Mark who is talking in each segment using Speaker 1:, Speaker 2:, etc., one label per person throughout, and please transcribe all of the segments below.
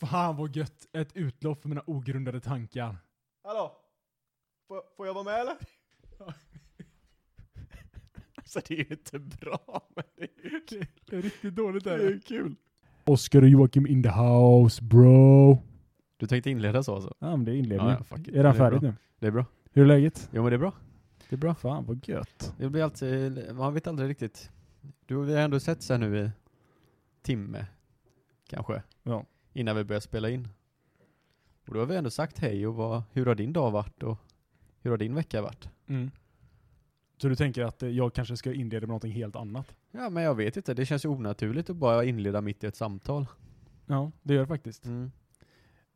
Speaker 1: Fan vad gött! Ett utlopp för mina ogrundade tankar.
Speaker 2: Hallå? Får, får jag vara med eller?
Speaker 3: Alltså det är ju inte bra, men det är ju kul.
Speaker 1: Det är riktigt dåligt
Speaker 3: Det är ju kul.
Speaker 1: Oscar och Joakim in the house bro.
Speaker 3: Du tänkte inleda så alltså?
Speaker 1: Ja men det är inledning.
Speaker 3: Ja, ja, fuck it.
Speaker 1: är den
Speaker 3: Det är
Speaker 1: färdig
Speaker 3: bra.
Speaker 1: nu?
Speaker 3: Det är bra.
Speaker 1: Hur är läget?
Speaker 3: Jo men det är bra.
Speaker 1: Det är bra. Fan vad gött.
Speaker 3: Det blir alltid, man vet aldrig riktigt. Du, vi har ändå sett sen nu i timme, kanske.
Speaker 1: Ja.
Speaker 3: Innan vi började spela in. Och då har vi ändå sagt hej och vad, hur har din dag varit och hur har din vecka varit?
Speaker 1: Mm. Så du tänker att eh, jag kanske ska inleda med någonting helt annat?
Speaker 3: Ja men jag vet inte, det känns ju onaturligt att bara inleda mitt i ett samtal.
Speaker 1: Ja, det gör det faktiskt.
Speaker 3: Mm.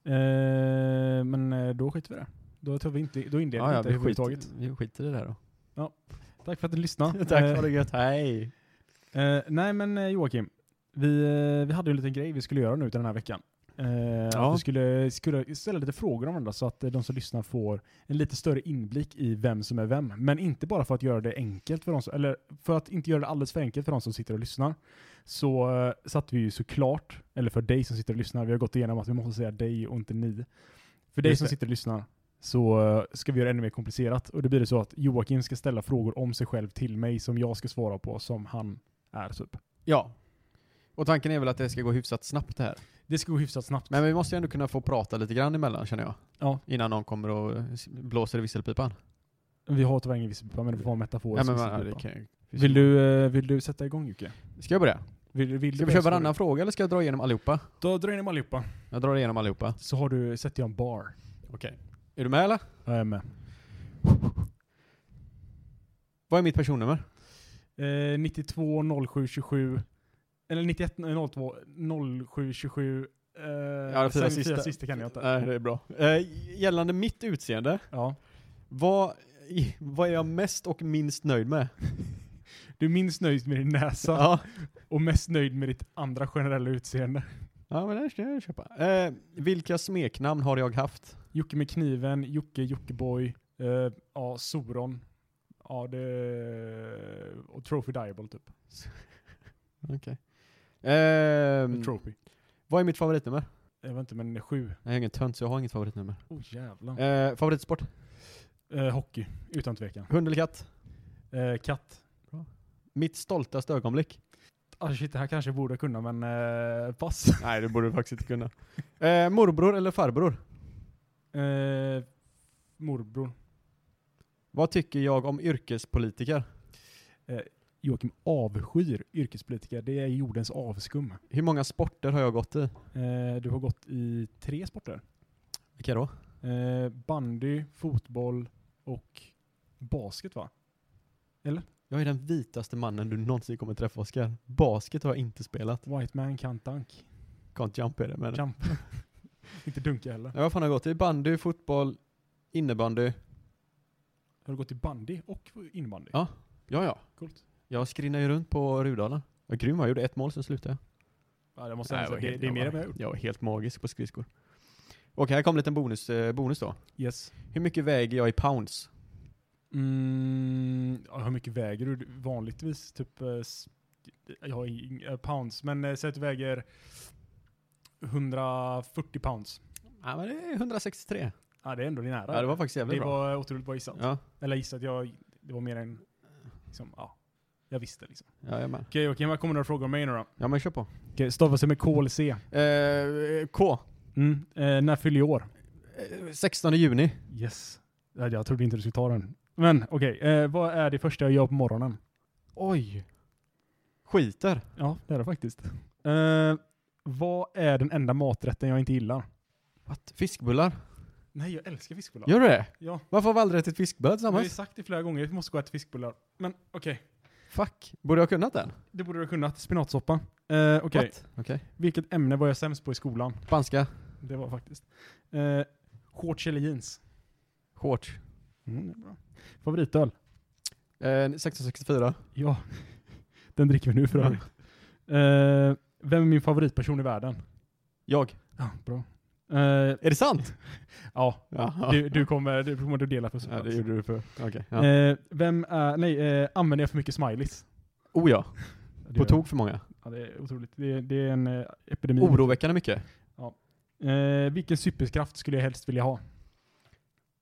Speaker 1: Eh, men eh, då skiter vi i det. Då, tar vi inte, då inleder vi inte överhuvudtaget.
Speaker 3: vi skiter i det där då.
Speaker 1: Tack för att du lyssnade.
Speaker 3: Tack
Speaker 1: Eh,
Speaker 3: för det gött, hej!
Speaker 1: Eh, nej men eh, Joakim, vi, eh, vi hade ju en liten grej vi skulle göra nu den här veckan. Eh, att vi skulle, skulle ställa lite frågor om varandra så att eh, de som lyssnar får en lite större inblick i vem som är vem. Men inte bara för att göra det enkelt för de som, eller för att inte göra det alldeles för enkelt för de som sitter och lyssnar. Så eh, satte vi ju såklart, eller för dig som sitter och lyssnar, vi har gått igenom att vi måste säga dig och inte ni. För dig
Speaker 3: Just
Speaker 1: som
Speaker 3: det.
Speaker 1: sitter och lyssnar så eh, ska vi göra det ännu mer komplicerat. Och det blir det så att Joakim ska ställa frågor om sig själv till mig som jag ska svara på som han är typ.
Speaker 3: Ja. Och tanken är väl att det ska gå hyfsat snabbt det här.
Speaker 1: Det ska gå hyfsat snabbt.
Speaker 3: Men vi måste ju ändå kunna få prata lite grann emellan känner jag.
Speaker 1: Ja.
Speaker 3: Innan någon kommer och s- blåser i visselpipan.
Speaker 1: vi har tyvärr ingen visselpipa, men det var en metafor.
Speaker 3: Ja,
Speaker 1: som
Speaker 3: men,
Speaker 1: vi
Speaker 3: man,
Speaker 1: sitter
Speaker 3: det
Speaker 1: på.
Speaker 3: kan ju,
Speaker 1: vill, du, eh, vill du sätta igång Jocke?
Speaker 3: Ska jag börja?
Speaker 1: Vill, vill
Speaker 3: Ska
Speaker 1: du
Speaker 3: vi köra varannan fråga eller ska jag dra igenom allihopa?
Speaker 1: Då drar jag in allihopa.
Speaker 3: Jag drar igenom allihopa.
Speaker 1: Så har du, sätter jag en bar.
Speaker 3: Okej. Är du med eller?
Speaker 1: Jag är med.
Speaker 3: Vad är mitt personnummer?
Speaker 1: Eh, 92 07 27. Eller eh, 91 02 07 27. Eh,
Speaker 3: Ja, de fyra
Speaker 1: sen
Speaker 3: sista.
Speaker 1: fyra sista kan jag inte.
Speaker 3: Nej, det är bra. Eh, gällande mitt utseende,
Speaker 1: Ja.
Speaker 3: vad, i- vad är jag mest och minst nöjd med?
Speaker 1: Du är minst nöjd med din näsa
Speaker 3: Ja,
Speaker 1: och mest nöjd med ditt andra generella utseende.
Speaker 3: ja men det ska jag köpa. Eh, vilka smeknamn har jag haft?
Speaker 1: Jocke med kniven, Jocke, Jockeboy, eh, ja, Soron. Ja, det... Och Trophy Diable typ.
Speaker 3: Eh,
Speaker 1: Mm. Trophy.
Speaker 3: vad är mitt favoritnummer?
Speaker 1: Jag vet inte, men sju.
Speaker 3: Jag är ingen tönt så jag har inget favoritnummer.
Speaker 1: Oh jävlar.
Speaker 3: Eh, favoritsport?
Speaker 1: Eh, hockey, utan tvekan.
Speaker 3: Hund eller katt?
Speaker 1: Eh, katt.
Speaker 3: Mitt stoltaste ögonblick?
Speaker 1: Ah shit, det här kanske jag borde kunna, men eh, pass.
Speaker 3: Nej, det borde du faktiskt inte kunna. Eh, morbror eller farbror?
Speaker 1: Eh, morbror.
Speaker 3: Vad tycker jag om yrkespolitiker?
Speaker 1: Joakim avskyr yrkespolitiker. Det är jordens avskum.
Speaker 3: Hur många sporter har jag gått i?
Speaker 1: Eh, du har gått i tre sporter.
Speaker 3: Vilka då?
Speaker 1: Eh, bandy, fotboll och basket va?
Speaker 3: Jag är den vitaste mannen du någonsin kommer träffa, Oskar. Basket har jag inte spelat.
Speaker 1: White man can't dunk.
Speaker 3: Can't jump är det, men...
Speaker 1: Jump. Inte dunka heller.
Speaker 3: Nej, vad fan har jag gått i? Bandy, fotboll, innebandy.
Speaker 1: Har du gått i bandy och innebandy?
Speaker 3: Ja. Ja, ja.
Speaker 1: Coolt.
Speaker 3: Jag skrinnar ju runt på Rudala. Vad grym jag gjorde ett mål, sen slutade jag.
Speaker 1: Ja, det, måste
Speaker 3: Nej,
Speaker 1: jag
Speaker 3: jag var
Speaker 1: säga. det,
Speaker 3: helt-
Speaker 1: det är mer
Speaker 3: jag
Speaker 1: än
Speaker 3: var-
Speaker 1: vad jag har gjort.
Speaker 3: Jag var helt magisk på skridskor. Och här kom en liten bonus, eh, bonus då.
Speaker 1: Yes.
Speaker 3: Hur mycket väger jag i pounds?
Speaker 1: Mm, ja, hur mycket väger du vanligtvis? Typ, eh, s- jag har ing- eh, pounds, men eh, säg att du väger 140 pounds.
Speaker 3: Ja, men det är 163.
Speaker 1: Ja, det är ändå nära.
Speaker 3: Ja, det var faktiskt
Speaker 1: det
Speaker 3: jävligt bra.
Speaker 1: var otroligt bra gissat.
Speaker 3: Ja,
Speaker 1: Eller gissat, jag, det var mer än, liksom, ja, jag visste liksom.
Speaker 3: jajamän.
Speaker 1: Okej, okej, här kommer några frågor om mig nu då.
Speaker 3: Ja men kör på.
Speaker 1: Okej, stavas det med KLC?
Speaker 3: Eh, K.
Speaker 1: Mm, eh, när fyller jag år?
Speaker 3: Eh, 16 juni.
Speaker 1: Yes. Ja, Jag trodde inte du skulle ta den. Men okej, eh, vad är det första jag gör på morgonen?
Speaker 3: Oj. Skiter.
Speaker 1: Ja, det är det faktiskt. Eh, vad är den enda maträtten jag inte gillar?
Speaker 3: What? Fiskbullar.
Speaker 1: Nej, jag älskar fiskbullar.
Speaker 3: Gör du det?
Speaker 1: Ja.
Speaker 3: Varför har vi aldrig ätit
Speaker 1: Jag
Speaker 3: fiskbullar
Speaker 1: har ju
Speaker 3: tillsammans?
Speaker 1: sagt det flera gånger, vi måste gå och äta fiskbullar. Men okej,
Speaker 3: Fuck. Borde jag ha kunnat den?
Speaker 1: det borde du ha kunnat. Spinatsoppa. Eh, okej,
Speaker 3: What? Okej.
Speaker 1: vilket ämne var jag sämst på i skolan?
Speaker 3: Spanska.
Speaker 1: Det var faktiskt. Eh, shorts eller jeans?
Speaker 3: Shorts.
Speaker 1: Mm, det är bra. Favoritöl?
Speaker 3: Eh, 1664.
Speaker 1: Ja, den dricker vi nu för övrigt. Eh, vem är min favoritperson i världen?
Speaker 3: Jag.
Speaker 1: Ja, bra. Eh,
Speaker 3: Är det sant?
Speaker 1: ja,
Speaker 3: Jaha.
Speaker 1: du, du kommer du kommer att dela på
Speaker 3: Ja, det gjorde du för. Okej. Ja.
Speaker 1: Eh, vem är, nej, eh, använder jag för mycket smileys?
Speaker 3: oh ja.
Speaker 1: Det gör
Speaker 3: På
Speaker 1: jag.
Speaker 3: tok för många. Mm.
Speaker 1: Ja, det är otroligt. Det, är- det är en eh, epidemi.
Speaker 3: Oroväckande mycket.
Speaker 1: Ja. Eh, vilken superkraft skulle jag helst vilja ha?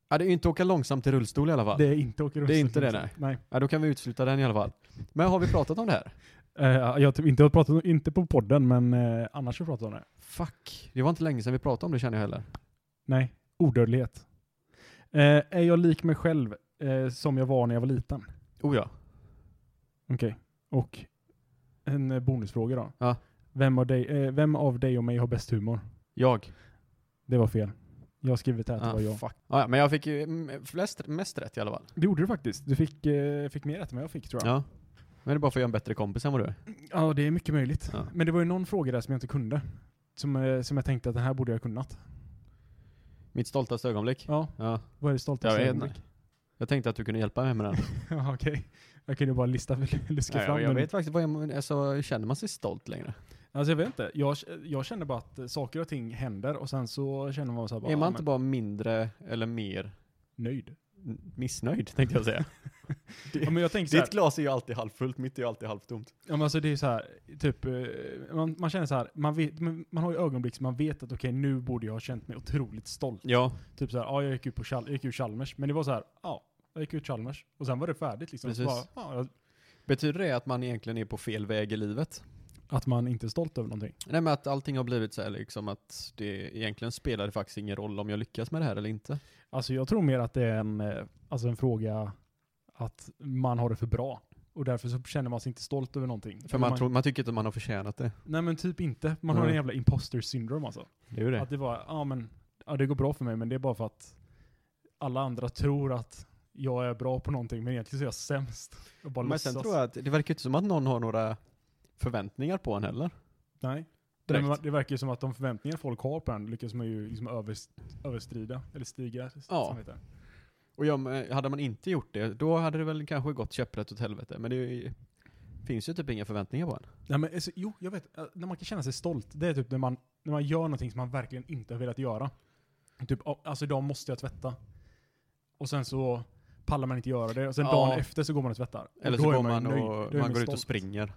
Speaker 3: Ja, det är ju inte åka långsamt i rullstol i alla fall.
Speaker 1: Det är inte åka rullstol.
Speaker 3: Det är inte det, nej.
Speaker 1: nej.
Speaker 3: Ja, då kan vi utesluta den i alla fall. Men har vi pratat om det här?
Speaker 1: Eh, jag har typ inte har pratat om, inte på podden, men eh, annars har jag pratat om det.
Speaker 3: Fuck. Det var inte länge sedan vi pratade om det känner jag heller.
Speaker 1: Nej, odödlighet. Eh, är jag lik mig själv eh, som jag var när jag var liten?
Speaker 3: Oh ja.
Speaker 1: Okej. Och en eh, bonusfråga då.
Speaker 3: Ja.
Speaker 1: Vem, av dig, eh, vem av dig och mig har bäst humor?
Speaker 3: Jag. det
Speaker 1: Det var fel. Jag har skrivit här att det var jag.
Speaker 3: Ah, fuck. Ja, ja, men jag fick ju mm, flest, mest rätt i alla fall.
Speaker 1: Det gjorde du faktiskt. Du fick, eh, fick mer rätt än vad jag fick tror jag.
Speaker 3: Ja. Men det är bara för att jag är en bättre kompis än vad du är.
Speaker 1: Ja, det är mycket möjligt.
Speaker 3: Ja.
Speaker 1: Men det var ju någon fråga där som jag inte kunde. Som, eh, som jag tänkte att den här borde jag kunnat.
Speaker 3: Mitt stoltaste ögonblick.
Speaker 1: Ja,
Speaker 3: Ja.
Speaker 1: vad är det
Speaker 3: Jag
Speaker 1: stoltaste
Speaker 3: vet inte. Jag tänkte att du kunde hjälpa mig med den.
Speaker 1: Ja, okej. Jag kunde bara lista, luska
Speaker 3: Nej,
Speaker 1: fram.
Speaker 3: jag, jag
Speaker 1: men-
Speaker 3: vet faktiskt vad jag, alltså, känner man sig stolt längre?
Speaker 1: Alltså jag vet inte. Jag, jag känner bara att eh, saker och ting händer och sen så känner man så här bara,
Speaker 3: är
Speaker 1: ja,
Speaker 3: man inte
Speaker 1: men,
Speaker 3: bara mindre eller mer
Speaker 1: nöjd.
Speaker 3: n- missnöjd tänkte jag säga.
Speaker 1: Ja, men jag tänker så här,
Speaker 3: Ditt glas är ju alltid halvfullt, mitt är ju alltid halvtomt.
Speaker 1: ja, men alltså det är så här, typ, eh, man, man känner så här, man, vet, man, man har ju ögonblick som man vet att okej nu borde jag ha känt mig otroligt stolt.
Speaker 3: Ja,
Speaker 1: Typ så här, ja jag gick ut på Chal- jag gick ut Chalmers, men det var så här, ja, jag gick ut Chalmers och sen var det färdigt liksom. Så
Speaker 3: Precis.
Speaker 1: bara, ja, jag-
Speaker 3: betyder det att man egentligen är på fel väg i livet?
Speaker 1: att man inte är stolt över någonting.
Speaker 3: Nej men att allting har blivit så här liksom att det egentligen spelar det faktiskt ingen roll om jag lyckas med det här eller inte.
Speaker 1: Alltså jag tror mer att det är en, eh, alltså en fråga att man har det för bra. Och därför så känner man sig inte stolt över någonting.
Speaker 3: För
Speaker 1: Eller
Speaker 3: man, tror, man tycker inte man har förtjänat det.
Speaker 1: Nej men typ inte. Man har
Speaker 3: Nej.
Speaker 1: en jävla imposter syndrome alltså.
Speaker 3: Det är ju
Speaker 1: Att det var, ja men, ja, det går bra för mig men det är bara för att alla andra tror att jag är bra på någonting men egentligen så är jag sämst. Jag bara
Speaker 3: Men
Speaker 1: låtsas.
Speaker 3: sen tror jag att det verkar ju inte som att någon har några förväntningar på en heller.
Speaker 1: Nej. Nej,
Speaker 3: Direkt.
Speaker 1: men det verkar ju som att de förväntningar folk har på en lyckas man ju liksom överst- överstrida, eller stiga.
Speaker 3: Ja.
Speaker 1: som det heter.
Speaker 3: Och ja, men hade man inte gjort det, då hade det väl kanske gått käpprätt åt helvete. Men det är ju- finns ju typ inga förväntningar på en.
Speaker 1: Nej, men, alltså, jo, jag vet. eh, När man kan känna sig stolt, det är typ när man, när man gör någonting som man verkligen inte har velat göra. Typ, "Ja, alltså idag måste jag tvätta. Och sen så pallar man inte göra det. Och sen
Speaker 3: Ja.
Speaker 1: dagen efter så går man och tvättar. Och
Speaker 3: Eller
Speaker 1: då
Speaker 3: så
Speaker 1: är
Speaker 3: går
Speaker 1: ju
Speaker 3: man
Speaker 1: nöjd.
Speaker 3: och
Speaker 1: Då är
Speaker 3: man går ut och
Speaker 1: stolt.
Speaker 3: springer.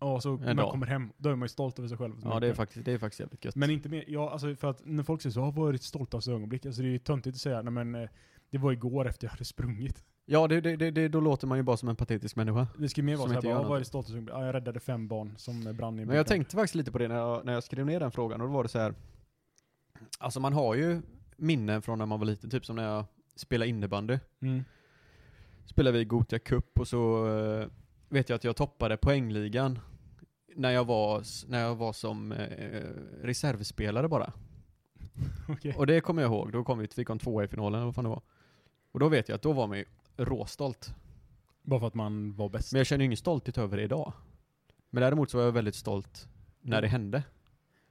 Speaker 1: Ja, och så när man
Speaker 3: dag.
Speaker 1: kommer hem, då är man ju stolt över sig själv.
Speaker 3: Ja, det är faktiskt, det är faktiskt jävligt gött.
Speaker 1: Men inte mer, ja, alltså för att när folk säger så, "Ah, vad är ditt stoltaste ögonblick? Alltså det är ju töntigt att säga, nej men eh, det var igår efter jag hade sprungit.
Speaker 3: Ja, det, det, det, det, då låter man ju bara som en patetisk människa.
Speaker 1: Det ska ju mer
Speaker 3: Som
Speaker 1: vara såhär,
Speaker 3: inte
Speaker 1: bara,
Speaker 3: gör
Speaker 1: "Ah, vad är
Speaker 3: något."
Speaker 1: ditt stoltaste ögonblick? Ja, jag räddade fem barn som eh, brann i en
Speaker 3: Men jag
Speaker 1: bilkamp."
Speaker 3: tänkte faktiskt lite på det när jag, när jag skrev ner den frågan och då var det så här. Alltså man har ju minnen från när man var liten, typ som när jag spelade innebandy.
Speaker 1: Mm.
Speaker 3: Spelade vi Gotia Cup och så eh, vet jag att jag toppade poängligan när jag var, s- när jag var som eh, reservspelare bara.
Speaker 1: Okej.
Speaker 3: Och det kommer jag ihåg, då kom vi, vi kom tvåa i finalen eller vad fan det var. Och då vet jag att då var man ju råstolt.
Speaker 1: Bara för att man var bäst.
Speaker 3: Men jag känner ju ingen stolthet över det idag. Men däremot så var jag väldigt stolt när det hände.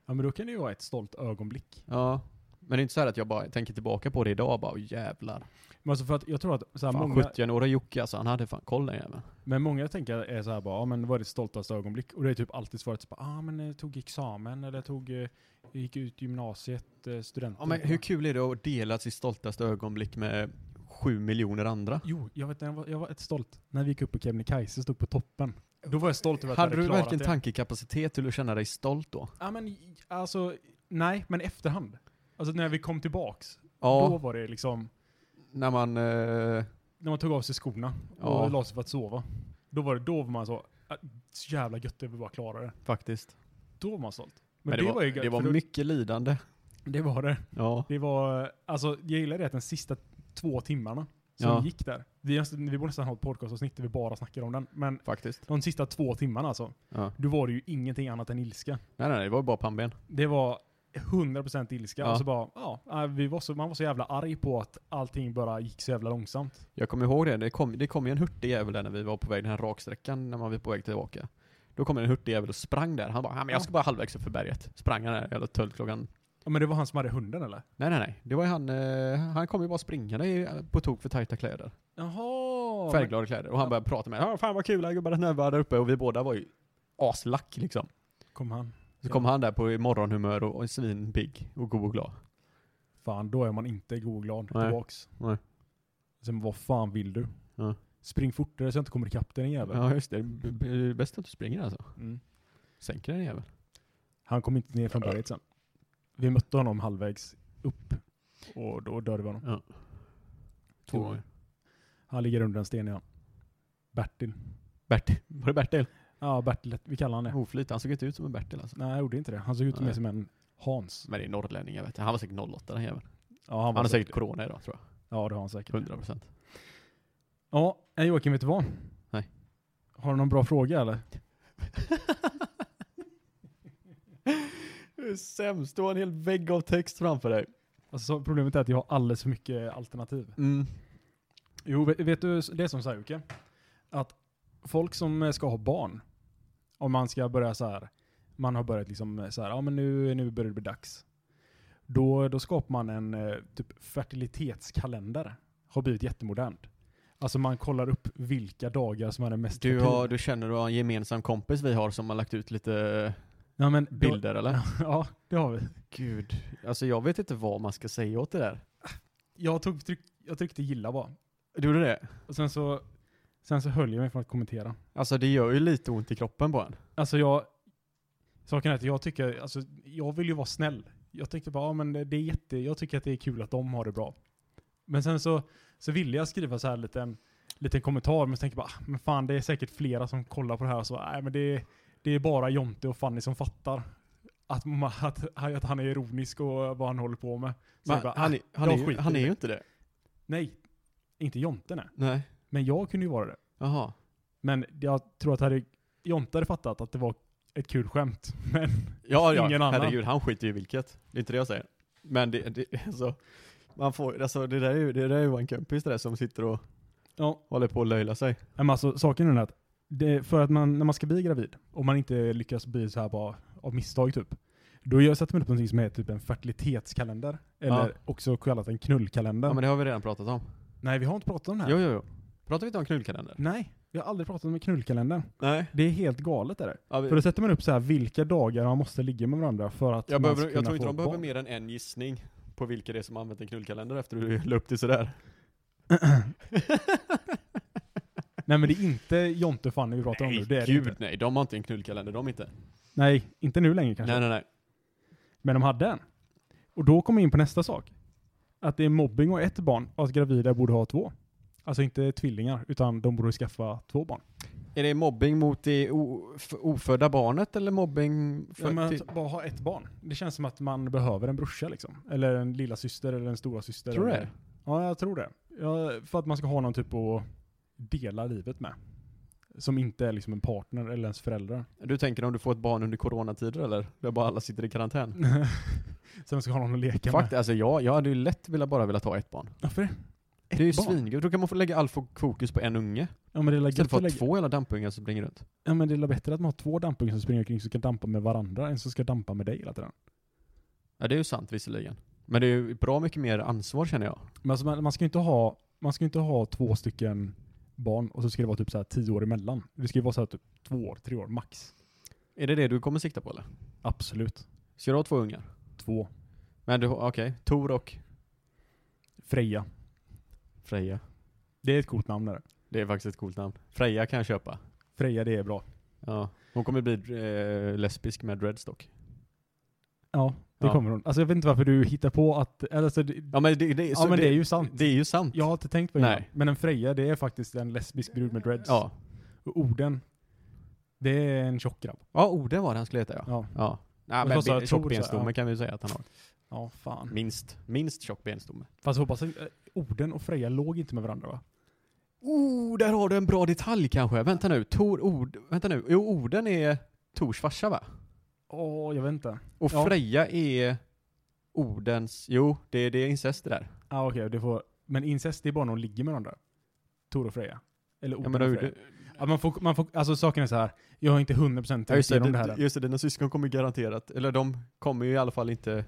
Speaker 1: Ja men då kan det ju vara ett stolt ögonblick.
Speaker 3: Ja. Men det är inte så här att jag bara tänker tillbaka på det idag och bara "Åh, jävlar.
Speaker 1: Men alltså för att jag tror att så här,
Speaker 3: Fan
Speaker 1: många,
Speaker 3: 70-åriga Jocke alltså, han hade fan koll den jäveln.
Speaker 1: men många jag tänker är så här bara, ja men vad är ditt stoltaste ögonblick? Och det är typ alltid svaret så bara, ah men jag tog examen eller jag tog, eh, gick ut gymnasiet, eh, studenten.
Speaker 3: Ja men hur kul är det att dela sitt stoltaste ögonblick med sju miljoner andra?
Speaker 1: Jo, jag vet när jag var, jag var ett stolt. När vi gick upp på Kebnekaise och stod på toppen. Då var jag stolt över att
Speaker 3: Hade
Speaker 1: jag
Speaker 3: du
Speaker 1: hade klarat
Speaker 3: verkligen
Speaker 1: det.
Speaker 3: tankekapacitet till att känna dig stolt då?
Speaker 1: ja, men alltså, nej, men efterhand. Alltså när vi kom tillbaks,
Speaker 3: Ja,
Speaker 1: då var det liksom,
Speaker 3: när man... Eh,
Speaker 1: när man tog av sig skorna och
Speaker 3: Ja.
Speaker 1: la sig för att sova. Då var det, då var man så, "Ah, så jävla gött det vi bara klarade det.
Speaker 3: faktiskt.
Speaker 1: Då var man stolt.
Speaker 3: Men, det, var,
Speaker 1: ju gött,
Speaker 3: det var
Speaker 1: för då-
Speaker 3: mycket lidande.
Speaker 1: Det var det.
Speaker 3: Ja.
Speaker 1: Det var, alltså jag gillar det att den sista två timmarna som
Speaker 3: Ja.
Speaker 1: vi gick där. Vi, har- vi borde nästan ha ett podcastavsnitt där vi bara snackar om den. Men
Speaker 3: Faktiskt.
Speaker 1: de sista två timmarna alltså,
Speaker 3: Ja.
Speaker 1: då var det ju ingenting annat än ilska.
Speaker 3: Nej nej, det var ju bara pannben.
Speaker 1: Det var 100% ilska.
Speaker 3: Ja.
Speaker 1: Och så bara, ja, äh, vi var så, man var så jävla arg på att allting bara gick så jävla långsamt.
Speaker 3: Jag kommer ihåg det, det kom, det kom ju en hurtig jävel där när vi var på väg den här raksträckan, när man var på väg tillbaka. Då kom en hurtig jävel och sprang där. Han bara, "Ja, men jag ska bara halvvägs upp för berget. Sprang han där, eller tölt klockan.
Speaker 1: Ja, men det var han som hade hunden eller?
Speaker 3: Nej nej nej, det var ju han, eh, han kom ju bara springande i, eh, på tok för tajta kläder.
Speaker 1: Jaha!
Speaker 3: Färgglada kläder. Och han började prata med mig. Fan vad kul, jag gubbar att ni var där uppe. Och vi båda var ju aslack liksom.
Speaker 1: Kom han.
Speaker 3: Så kom han där på morgonhumör och, och svinpigg och god och glad.
Speaker 1: Fan, då är man inte god och glad
Speaker 3: Nej.
Speaker 1: tillbaks.
Speaker 3: Nej.
Speaker 1: Sen vad fan vill du?
Speaker 3: Ja.
Speaker 1: Spring fortare så jag inte kommer ikapp den jäveln.
Speaker 3: Ja just det, B- b- bäst att du springer alltså.
Speaker 1: Mm.
Speaker 3: Sänker den jäveln.
Speaker 1: Han kom inte ner från berget sen. Vi mötte honom halvvägs upp och då dödade vi honom.
Speaker 3: Ja. Två
Speaker 1: Två.
Speaker 3: gånger.
Speaker 1: Han ligger under en sten ja. Bertil.
Speaker 3: Bertil. Var det Bertil?
Speaker 1: Ja, Bertil, vi kallar han det.
Speaker 3: Hoflyt. Han såg inte ut som en Bertil alltså.
Speaker 1: Nej, han gjorde inte det. Han såg ut mer
Speaker 3: Nej.
Speaker 1: som en Hans.
Speaker 3: Men det är norrlänningar vet jag. Han var säkert 08 den jäveln.
Speaker 1: Ja, han
Speaker 3: Han
Speaker 1: var
Speaker 3: har säkert corona idag tror
Speaker 1: Ja, det har han säkert.
Speaker 3: jag. 100 procent.
Speaker 1: Ja, eh, Joakim, vet du vad?
Speaker 3: Nej.
Speaker 1: Har du någon bra fråga eller?
Speaker 3: Du är sämst. Du har en hel vägg av text framför dig.
Speaker 1: Alltså, problemet är att jag har alldeles för mycket alternativ.
Speaker 3: Mm.
Speaker 1: Jo, vet, vet du, det är som så här Jocke, att folk som eh, ska ha barn, om man ska börja så här, man har börjat liksom eh, så här, ja men nu, nu börjar det bli dags. Då, då skapar man en eh, typ fertilitetskalender. Har blivit jättemodernt. Alltså man kollar upp vilka dagar som är den mest
Speaker 3: Du,
Speaker 1: fertil.
Speaker 3: har, du känner du har en gemensam kompis vi har som har lagt ut lite eh,
Speaker 1: ja, men då-
Speaker 3: bilder eller?
Speaker 1: Ja, det har vi.
Speaker 3: Gud. Alltså jag vet inte vad man ska säga åt det där.
Speaker 1: Jag, tog, tryck, jag tryckte gilla bara.
Speaker 3: Du gjorde det?
Speaker 1: Och sen så, sen så höll jag mig från att kommentera.
Speaker 3: Alltså det gör ju lite ont i kroppen på en.
Speaker 1: Alltså jag... Saken är att jag tycker, alltså jag vill ju vara snäll. Jag tänkte bara, ja men det det är jätte, jag tycker att det är kul att de har det bra. Men sen så, så ville jag skriva så här liten, liten kommentar, men så tänkte jag bara, ah, men fan det är säkert flera som kollar på det här, så nej men det, det är bara Jonte och Fanny som fattar. Att, ma- att, att han är ironisk och vad han håller på med. Så jag
Speaker 3: Men
Speaker 1: bara,
Speaker 3: han,
Speaker 1: ah,
Speaker 3: är- han,
Speaker 1: jag
Speaker 3: är, ju-
Speaker 1: skiter i
Speaker 3: han är ju
Speaker 1: det.
Speaker 3: inte det.
Speaker 1: nej, inte Jonte nej.
Speaker 3: Nej.
Speaker 1: Men jag kunde ju vara det.
Speaker 3: Jaha.
Speaker 1: Men jag tror att hade, Jonte hade fattat att det var ett kul skämt. Men
Speaker 3: Ja, ja.
Speaker 1: Ingen annan.
Speaker 3: Herregud, han skiter ju i vilket. Det är inte det jag säger. Men det, det alltså, man får, alltså det där är ju, det där är ju en kompis det där som sitter och
Speaker 1: ja,
Speaker 3: håller på att löjla sig.
Speaker 1: Nej, Men alltså, saken är den att det, för att man, när man ska bli gravid, om man inte lyckas bli så här bara av misstag typ, då gör, sätter man upp någonting som är typ en fertilitetskalender, eller
Speaker 3: Ja.
Speaker 1: också kallat en knullkalender.
Speaker 3: Ja men det har vi redan pratat om.
Speaker 1: Nej, vi har inte pratat om det här.
Speaker 3: Jo, jo, jo. Pratar vi inte om knullkalender?
Speaker 1: Nej, vi har aldrig pratat om en knullkalender.
Speaker 3: Nej.
Speaker 1: Det är helt galet är det.
Speaker 3: Ja, vi,
Speaker 1: För då sätter man upp så här vilka dagar man måste ligga med varandra för att man
Speaker 3: jag, behöver,
Speaker 1: ska kunna
Speaker 3: jag tror inte
Speaker 1: få
Speaker 3: de behöver
Speaker 1: barn.
Speaker 3: mer än en gissning på vilka det är som har använt en knullkalender efter du la upp det sådär.
Speaker 1: Nej men det är inte Jonte och Fanny vi pratar om nu. Det är det
Speaker 3: gud
Speaker 1: inte.
Speaker 3: nej. De har inte en knullkalender, de inte.
Speaker 1: Nej, inte nu längre kanske.
Speaker 3: Nej, nej, nej.
Speaker 1: Men de hade en. Och då kom jag in på nästa sak. Att det är mobbing och ett barn och att gravida borde ha två. Alltså inte tvillingar, utan de borde skaffa två barn.
Speaker 3: Är det mobbing mot det o- f- ofödda barnet eller mobbing för, typ-
Speaker 1: men
Speaker 3: till,
Speaker 1: att bara ha ett barn. Det känns som att man behöver en brorsa liksom. Eller en lilla syster eller en stora syster.
Speaker 3: Tror du
Speaker 1: eller...
Speaker 3: det?
Speaker 1: Ja, jag tror det. Ja, för att man ska ha någon typ att dela livet med. Som inte är liksom en partner eller ens föräldrar.
Speaker 3: Du tänker om du får ett barn under coronatider eller? Där bara alla sitter i karantän?
Speaker 1: Så man ska ha någon att leka
Speaker 3: Faktiskt,
Speaker 1: med.
Speaker 3: alltså jag, jag hade ju lätt vilja bara vilja ta ett barn.
Speaker 1: Varför det? Ett
Speaker 3: det är ju
Speaker 1: barn?
Speaker 3: svingött. Då kan man få lägga all fo- fokus på en unge.
Speaker 1: Ja, men det är väl
Speaker 3: Istället
Speaker 1: gött
Speaker 3: för
Speaker 1: att
Speaker 3: att ha
Speaker 1: lägga-
Speaker 3: två jävla dampungar som springer runt.
Speaker 1: Ja men det är väl bättre att man har två dampungar som springer omkring som ska dampa med varandra än som ska dampa med dig hela tiden.
Speaker 3: Ja, det är ju sant visserligen. Men det är ju bra mycket mer ansvar känner jag.
Speaker 1: Men alltså, man, man, ska ju inte ha, man ska ju inte ha två stycken barn och så ska det vara typ så här tio år emellan. Det ska ju vara så här typ två år, tre år max.
Speaker 3: Är det det du kommer sikta på eller?
Speaker 1: Absolut.
Speaker 3: Ska du ha två ungar?
Speaker 1: Två.
Speaker 3: Men du, okej. Tor och
Speaker 1: Freja.
Speaker 3: Freja.
Speaker 1: Det är ett coolt namn där.
Speaker 3: Det är faktiskt ett coolt namn. Freja kan jag köpa.
Speaker 1: Freja, det är bra.
Speaker 3: Ja. Hon kommer bli eh, lesbisk med dreadstock.
Speaker 1: Ja, det
Speaker 3: Ja.
Speaker 1: kommer hon. Alltså jag vet inte varför du hittar på att... eller, Alltså, det, ja,
Speaker 3: Ja men det, det, så
Speaker 1: men det, är ju sant.
Speaker 3: Det är ju sant.
Speaker 1: jag har inte tänkt på det.
Speaker 3: Nej.
Speaker 1: Men en Freja, det är faktiskt en lesbisk brud med dreads.
Speaker 3: Ja.
Speaker 1: Och orden, det är en tjock grabb.
Speaker 3: Ja, Oden var det han skulle heta ja.
Speaker 1: Ja.
Speaker 3: Ja. Nej
Speaker 1: Men
Speaker 3: men,
Speaker 1: så sa jag
Speaker 3: ben-
Speaker 1: Tor,
Speaker 3: tjock benstomme
Speaker 1: så- ja.
Speaker 3: kan vi ju säga att han har.
Speaker 1: Ja, fan.
Speaker 3: Minst. Minst tjock benstomme.
Speaker 1: Fast jag hoppas att eh, Oden och Freja låg inte med varandra va?
Speaker 3: Oh, där har du en bra detalj kanske. Vänta nu. Tor Ord... Vänta nu. Jo, Oden är Tors farsa va?
Speaker 1: Åh, jag vet inte.
Speaker 3: Och
Speaker 1: Ja.
Speaker 3: Freja är Odens... Jo, det, det är incest det där.
Speaker 1: Ah, okej, det får... Men incest, det är bara när de ligger med varandra. Tor och Freja. Eller
Speaker 3: Ja,
Speaker 1: Oden
Speaker 3: men då,
Speaker 1: och Freja. Ja, man får, man får, alltså saken är så här. jag har inte 100%
Speaker 3: ja, just,
Speaker 1: tänkt
Speaker 3: det,
Speaker 1: igenom det här
Speaker 3: det,
Speaker 1: än.
Speaker 3: just det, dina syskon kommer ju garanterat... Eller de kommer ju i alla fall inte...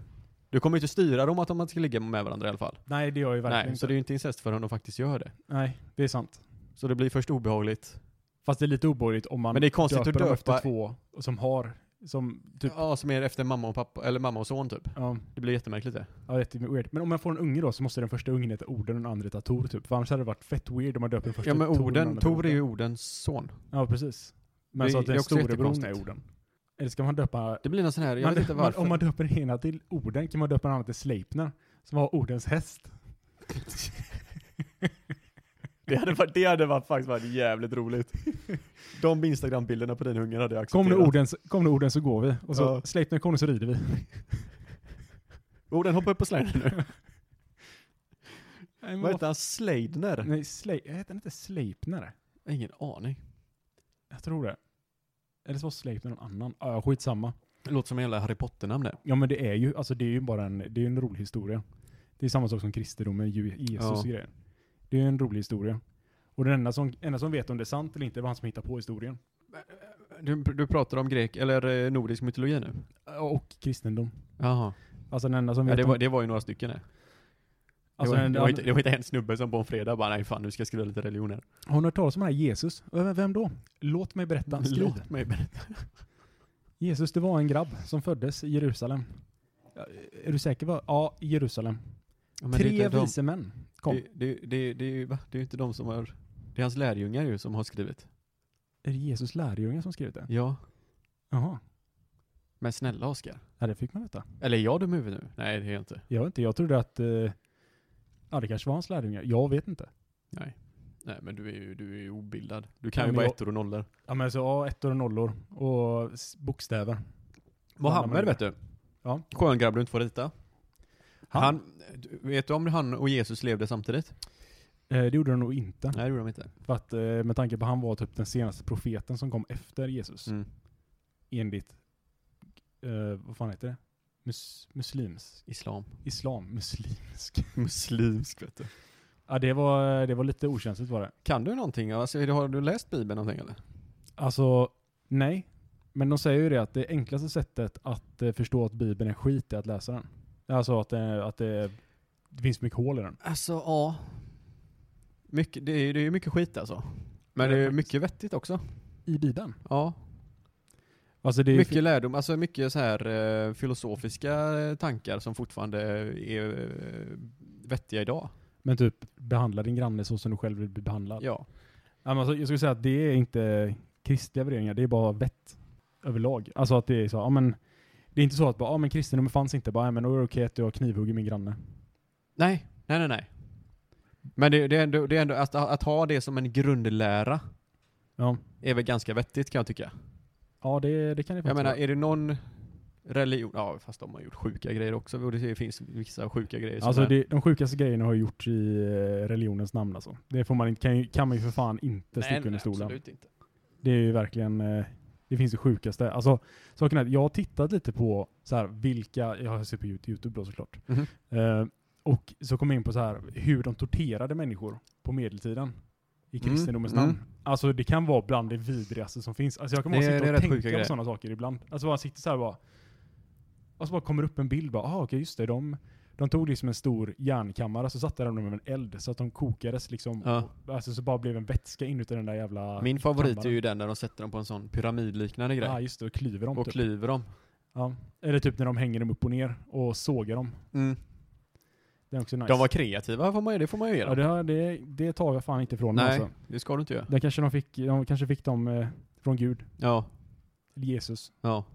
Speaker 3: Du kommer ju inte styra dem att de inte ska ligga med varandra i alla fall.
Speaker 1: Nej, det gör jag ju verkligen
Speaker 3: Nej,
Speaker 1: inte.
Speaker 3: så det är ju inte incest förrän de faktiskt gör det.
Speaker 1: Nej, det är sant.
Speaker 3: Så det blir först obehagligt.
Speaker 1: Fast det är lite obehagligt om man
Speaker 3: Men det är konstigt att
Speaker 1: döper dem
Speaker 3: döpa-
Speaker 1: efter två som har, som typ,
Speaker 3: Ja, som är efter mamma och pappa, eller mamma och son typ.
Speaker 1: ja,
Speaker 3: Det blir jättemärkligt det.
Speaker 1: ja det är weird. Men om man får en unge då så måste den första ungen heta Oden och den andra heta Tor typ. För annars hade det varit fett weird om man döper den första
Speaker 3: Ja men
Speaker 1: till och den
Speaker 3: Oden,
Speaker 1: andra
Speaker 3: Tor är
Speaker 1: Oden.
Speaker 3: ju Ordens son.
Speaker 1: Ja, precis. Men
Speaker 3: Det
Speaker 1: så att
Speaker 3: är
Speaker 1: den
Speaker 3: också
Speaker 1: storebror är
Speaker 3: jättekonstigt.
Speaker 1: Oden. Eller ska man döpa...
Speaker 3: Det blir någon sån här, jag
Speaker 1: man,
Speaker 3: vet inte
Speaker 1: man,
Speaker 3: varför.
Speaker 1: om man döper den ena till Orden kan man döpa den andra till Sleipner, som var Ordens häst.
Speaker 3: det hade varit, det hade varit, faktiskt varit jävligt roligt. De Instagram-bilderna på din hunger hade jag
Speaker 1: Kom nu orden, så- kom nu orden så går vi. Och så
Speaker 3: Ja.
Speaker 1: Sleipner kom nu så rider vi.
Speaker 3: Orden hoppar upp på släden nu.
Speaker 1: Nej, men
Speaker 3: Vad
Speaker 1: vad
Speaker 3: heter han? Sleidner?
Speaker 1: fan- Nej, Slej, heter han inte Sleipner?
Speaker 3: Jag har Ingen aning.
Speaker 1: Jag tror det. Eller så var Sleipner någon annan. Ah, Ja, skitsamma.
Speaker 3: Det låter som en jävla Harry Potter-namn det.
Speaker 1: Ja men det är ju, alltså det är ju bara en, det är ju en rolig historia. Det är samma sak som kristendomen, Ju- Jesus
Speaker 3: Ja.
Speaker 1: och grejer. Det är ju en rolig historia. Och den enda som, enda som vet om det är sant eller inte var han som hittar på historien.
Speaker 3: Du, du pratar om grek, eller eh, nordisk mytologi nu?
Speaker 1: Och kristendom.
Speaker 3: Jaha.
Speaker 1: Alltså den enda som
Speaker 3: Ja,
Speaker 1: vet
Speaker 3: det, var,
Speaker 1: om...
Speaker 3: det var ju några stycken det.
Speaker 1: Alltså,
Speaker 3: det, var,
Speaker 1: den,
Speaker 3: det, var inte, det var inte en snubbe som på en fredag bara, nej fan nu ska jag skriva lite religion här.
Speaker 1: Har ni hört talas om den här Jesus? Ö, Vem då? Låt mig berätta. Skriv.
Speaker 3: Låt mig berätta.
Speaker 1: Jesus, det var en grabb som föddes i Jerusalem. Ja, Är du säker? va? Ja, i Jerusalem.
Speaker 3: Ja, men det är
Speaker 1: Tre
Speaker 3: inte de-
Speaker 1: vise män kom.
Speaker 3: Det, det, det, det, är ju- va? det är ju inte de som har, det är hans lärjungar ju som har skrivit.
Speaker 1: Är det Jesus lärjungar som skrivit det?
Speaker 3: Ja.
Speaker 1: Jaha.
Speaker 3: Men snälla Oskar.
Speaker 1: Ja, det fick man veta.
Speaker 3: Eller är jag dum i huvudet nu? Nej det är jag inte.
Speaker 1: Jag vet inte, jag trodde att... Eh, ja, det kanske var hans lärjungar. Jag vet inte.
Speaker 3: Nej. Nej men du är ju, du är ju obildad. Du kan
Speaker 1: Ja,
Speaker 3: ju
Speaker 1: men
Speaker 3: bara
Speaker 1: jag-
Speaker 3: ettor och nollor.
Speaker 1: Ja, men så ja, ettor och nollor och s- bokstäver.
Speaker 3: Mohammed
Speaker 1: Mohammed,
Speaker 3: vet du.
Speaker 1: Ja.
Speaker 3: Skön grabb du inte får rita. Han.
Speaker 1: Han-
Speaker 3: du- vet du om han och Jesus levde samtidigt?
Speaker 1: Eh, det gjorde de nog inte.
Speaker 3: Nej det gjorde de inte.
Speaker 1: För att, eh, med tanke på att han var typ den senaste profeten som kom efter Jesus.
Speaker 3: Mm.
Speaker 1: Enligt, eh, vad fan heter det? Mus, muslims.
Speaker 3: Islam.
Speaker 1: Islam. Muslimsk.
Speaker 3: Muslimsk vet du.
Speaker 1: Ja, det var, det var lite okänsligt var det.
Speaker 3: Kan du någonting? Alltså, är det- har du läst Bibeln någonting eller?
Speaker 1: Alltså, nej. Men de säger ju det att det enklaste sättet att eh, förstå att Bibeln är skit är att läsa den. Alltså att, det- att det, det finns mycket hål i den.
Speaker 3: Alltså ja. Mycket, det, är, det är mycket skit alltså. Men
Speaker 1: Ja,
Speaker 3: det är
Speaker 1: faktiskt.
Speaker 3: mycket vettigt också.
Speaker 1: I Bibeln?
Speaker 3: Ja.
Speaker 1: Alltså det är
Speaker 3: Mycket lärdom, alltså mycket så här eh, filosofiska eh, tankar som fortfarande är eh, vettiga idag.
Speaker 1: men typ behandla din granne så som du själv vill bli behandlad. Ja.
Speaker 3: Ja.
Speaker 1: men Alltså, jag skulle säga att det är inte kristliga värderingar, det är bara vett överlag. Alltså att det är så, ja men det är inte så att bara, ja men kristendomen fanns inte, bara, ja, men då är det okej att jag knivhugger min granne.
Speaker 3: Nej, nej, nej, nej. Men det, det är ändå, det är ändå att, att ha det som en grundlära
Speaker 1: Ja,
Speaker 3: är väl ganska vettigt kan jag tycka.
Speaker 1: ja det, det kan det
Speaker 3: Jag
Speaker 1: faktiskt
Speaker 3: menar,
Speaker 1: vara.
Speaker 3: är det någon religion, ja fast de har gjort sjuka grejer också, och det finns vissa sjuka grejer som
Speaker 1: Alltså
Speaker 3: är-
Speaker 1: det, de sjukaste grejerna har gjorts i eh, religionens namn alltså. Det får man inte, kan, ju, kan man ju för fan inte
Speaker 3: nej,
Speaker 1: sticka
Speaker 3: nej,
Speaker 1: under stolen.
Speaker 3: absolut inte.
Speaker 1: Det är ju verkligen, eh, det finns det sjukaste. Alltså saken är att jag har tittat lite på så här, vilka, jag har sett på Youtube Youtube då såklart.
Speaker 3: Mhm.
Speaker 1: Eh, och så kom jag in på så här, hur de torterade människor på medeltiden. I
Speaker 3: Mm,
Speaker 1: kristendomens
Speaker 3: mm.
Speaker 1: namn. Alltså det kan vara bland det vidrigaste som finns. Alltså jag kan bara
Speaker 3: Det är- det är
Speaker 1: sitta och
Speaker 3: rätt sjuka
Speaker 1: tänka
Speaker 3: grejer.
Speaker 1: på sådana saker ibland. Alltså bara sitter så här bara. Och så bara kommer upp en bild bara, ah okej just det, de, de tog liksom en stor järnkammare så satte de dem över en eld så att de kokades liksom.
Speaker 3: Ja.
Speaker 1: Alltså så bara blev en vätska inuti den där jävla...
Speaker 3: Min favorit är
Speaker 1: kammaren.
Speaker 3: ju den där de sätter dem på en sån pyramidliknande grej
Speaker 1: Ja just det, och klyver dem
Speaker 3: och
Speaker 1: typ.
Speaker 3: klyver dem.
Speaker 1: Ja. Eller typ när de hänger dem upp och ner och sågar dem. Det är också nice.
Speaker 3: Mm. De var kreativa, får man, ju- det får man ju ge
Speaker 1: ja,
Speaker 3: dem.
Speaker 1: det, har- det, det tar jag fan inte ifrån dem
Speaker 3: Nej,
Speaker 1: alltså.
Speaker 3: det ska du inte göra.
Speaker 1: Där kanske de fick, de kanske fick dem eh, från Gud.
Speaker 3: Ja,
Speaker 1: Eller Jesus.
Speaker 3: ja.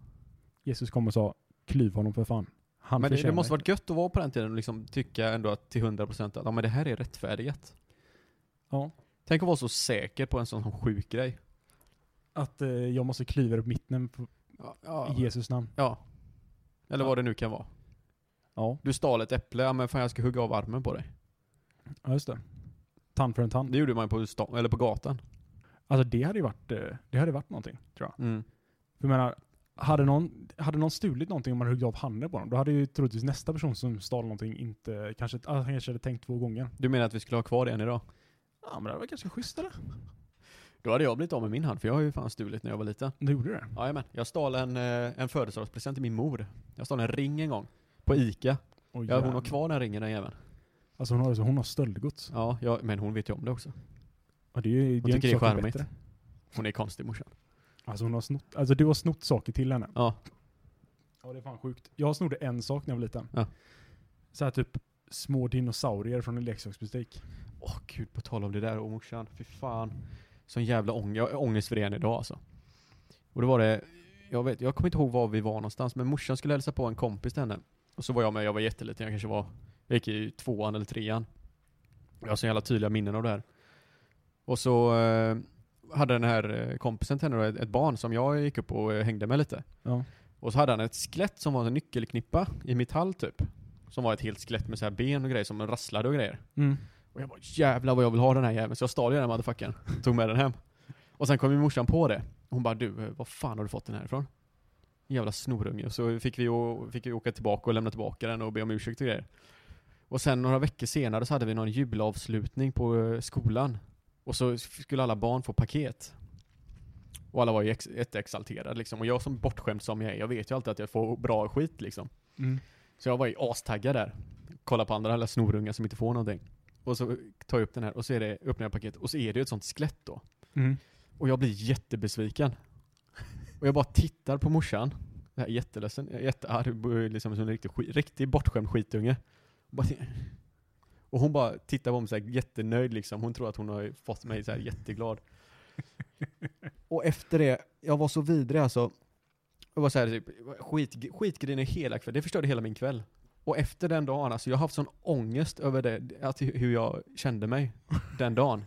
Speaker 1: Jesus kom och sa klyv honom för fan. Han
Speaker 3: Men det, det
Speaker 1: förtjänar
Speaker 3: måste
Speaker 1: det."
Speaker 3: varit gött att vara på den tiden och liksom tycka ändå att till 100% att ja, men det här är rättfärdigat.
Speaker 1: Ja.
Speaker 3: Tänk att vara så säker på en sån sjuk grej.
Speaker 1: Att eh, jag måste klyva upp mitt namn på-
Speaker 3: Ja.
Speaker 1: i Jesus namn.
Speaker 3: Ja. Eller
Speaker 1: Ja.
Speaker 3: vad det nu kan vara.
Speaker 1: Ja,
Speaker 3: Du stal ett äpple, ja men fan jag ska hugga av armen på
Speaker 1: Mm.
Speaker 3: dig.
Speaker 1: ja just det. Tand för en tand.
Speaker 3: Det gjorde man ju på stan, eller på gatan.
Speaker 1: Alltså det hade ju varit, eh, det hade varit någonting, tror jag.
Speaker 3: Mm.
Speaker 1: För jag menar, hade någon, hade någon stulit någonting om man huggit av handen på dem, då hade ju troligtvis nästa person som stal någonting inte, kanske, ah, han kanske hade tänkt två gånger.
Speaker 3: Du menar att vi skulle ha kvar det än idag?
Speaker 1: Ja men det var ganska schysst eller?
Speaker 3: Då hade jag blivit av med min hand, för jag har ju fan stulit när jag var liten.
Speaker 1: Du gjorde det?
Speaker 3: Jajamän. Jag stal en, eh, en födelsedagspresent till min mor. Jag stal en ring en gång. På
Speaker 1: Oj,
Speaker 3: Ica. Ja, hon
Speaker 1: jävlar.
Speaker 3: har kvar den ringen den jäveln.
Speaker 1: Alltså hon har, hon har stöldgods.
Speaker 3: Ja, jag, men hon vet ju om det också.
Speaker 1: Ja, det är ju,
Speaker 3: Hon
Speaker 1: det är
Speaker 3: tycker
Speaker 1: inte
Speaker 3: det är
Speaker 1: saken
Speaker 3: charmigt.
Speaker 1: bättre.
Speaker 3: Hon är konstig morsan.
Speaker 1: Alltså hon har snott, alltså du har snott saker till henne.
Speaker 3: Ja.
Speaker 1: Ja det är fan sjukt. Jag snodde en sak när jag var liten.
Speaker 3: Ja.
Speaker 1: Så här typ små dinosaurier från en leksaksbutik.
Speaker 3: Åh gud, på tal om det där och morsan. Fy fan. Sån jävla ång jag är ångest för det än idag alltså. Och då var det, jag, vet, jag kommer inte ihåg var vi var någonstans, men morsan skulle hälsa på en kompis till henne. Och så var jag med, jag var jätteliten, jag kanske var, jag gick i tvåan eller trean. Jag har så jävla tydliga minnen av det här. Och så eh, hade den här eh, kompisen till henne då ett, ett barn som jag gick upp och eh, hängde med lite.
Speaker 1: Ja.
Speaker 3: Och så hade han ett skelett som var en nyckelknippa i metall typ. Som var ett helt skelett med så här ben och grejer som rasslade och grejer.
Speaker 1: Mm.
Speaker 3: Och jag bara jävlar vad jag vill ha den här jäveln. Så jag stal ju den här motherfuckern. Tog med den hem. Och sen kom ju morsan på det. Hon bara du, eh, vad fan har du fått den här ifrån? Jävla snorunge. Och Så fick vi, å- fick vi åka tillbaka och lämna tillbaka den och be om ursäkt och grejer. Och sen några veckor senare så hade vi någon julavslutning på eh, skolan. Och så f- skulle alla barn få paket. Och alla var ju ex- jätteexalterade liksom. Och jag som bortskämd som jag är, jag vet ju alltid att jag får bra skit liksom.
Speaker 1: Mm.
Speaker 3: Så jag var ju astaggad där. Kolla på andra alla snorungar som inte får någonting. Och så tar jag upp den här och så är det, öppnar jag paketet och så är det ju ett sånt skelett då.
Speaker 1: Mm.
Speaker 3: Och jag blir jättebesviken. Och jag bara tittar på morsan. Jag är jätteledsen, jag är jättearg, b- liksom som en riktig, skit, riktig bortskämd skitunge. Och, bara, t- och hon bara tittar på mig såhär jättenöjd liksom. Hon tror att hon har fått mig såhär jätteglad. och efter det, jag var så vidrig alltså. Jag var såhär typ, skit, skitgrinig hela kvällen. Det förstörde hela min kväll. Och efter den dagen, alltså jag har haft sån ångest över det, att hu- hur jag kände mig den dagen.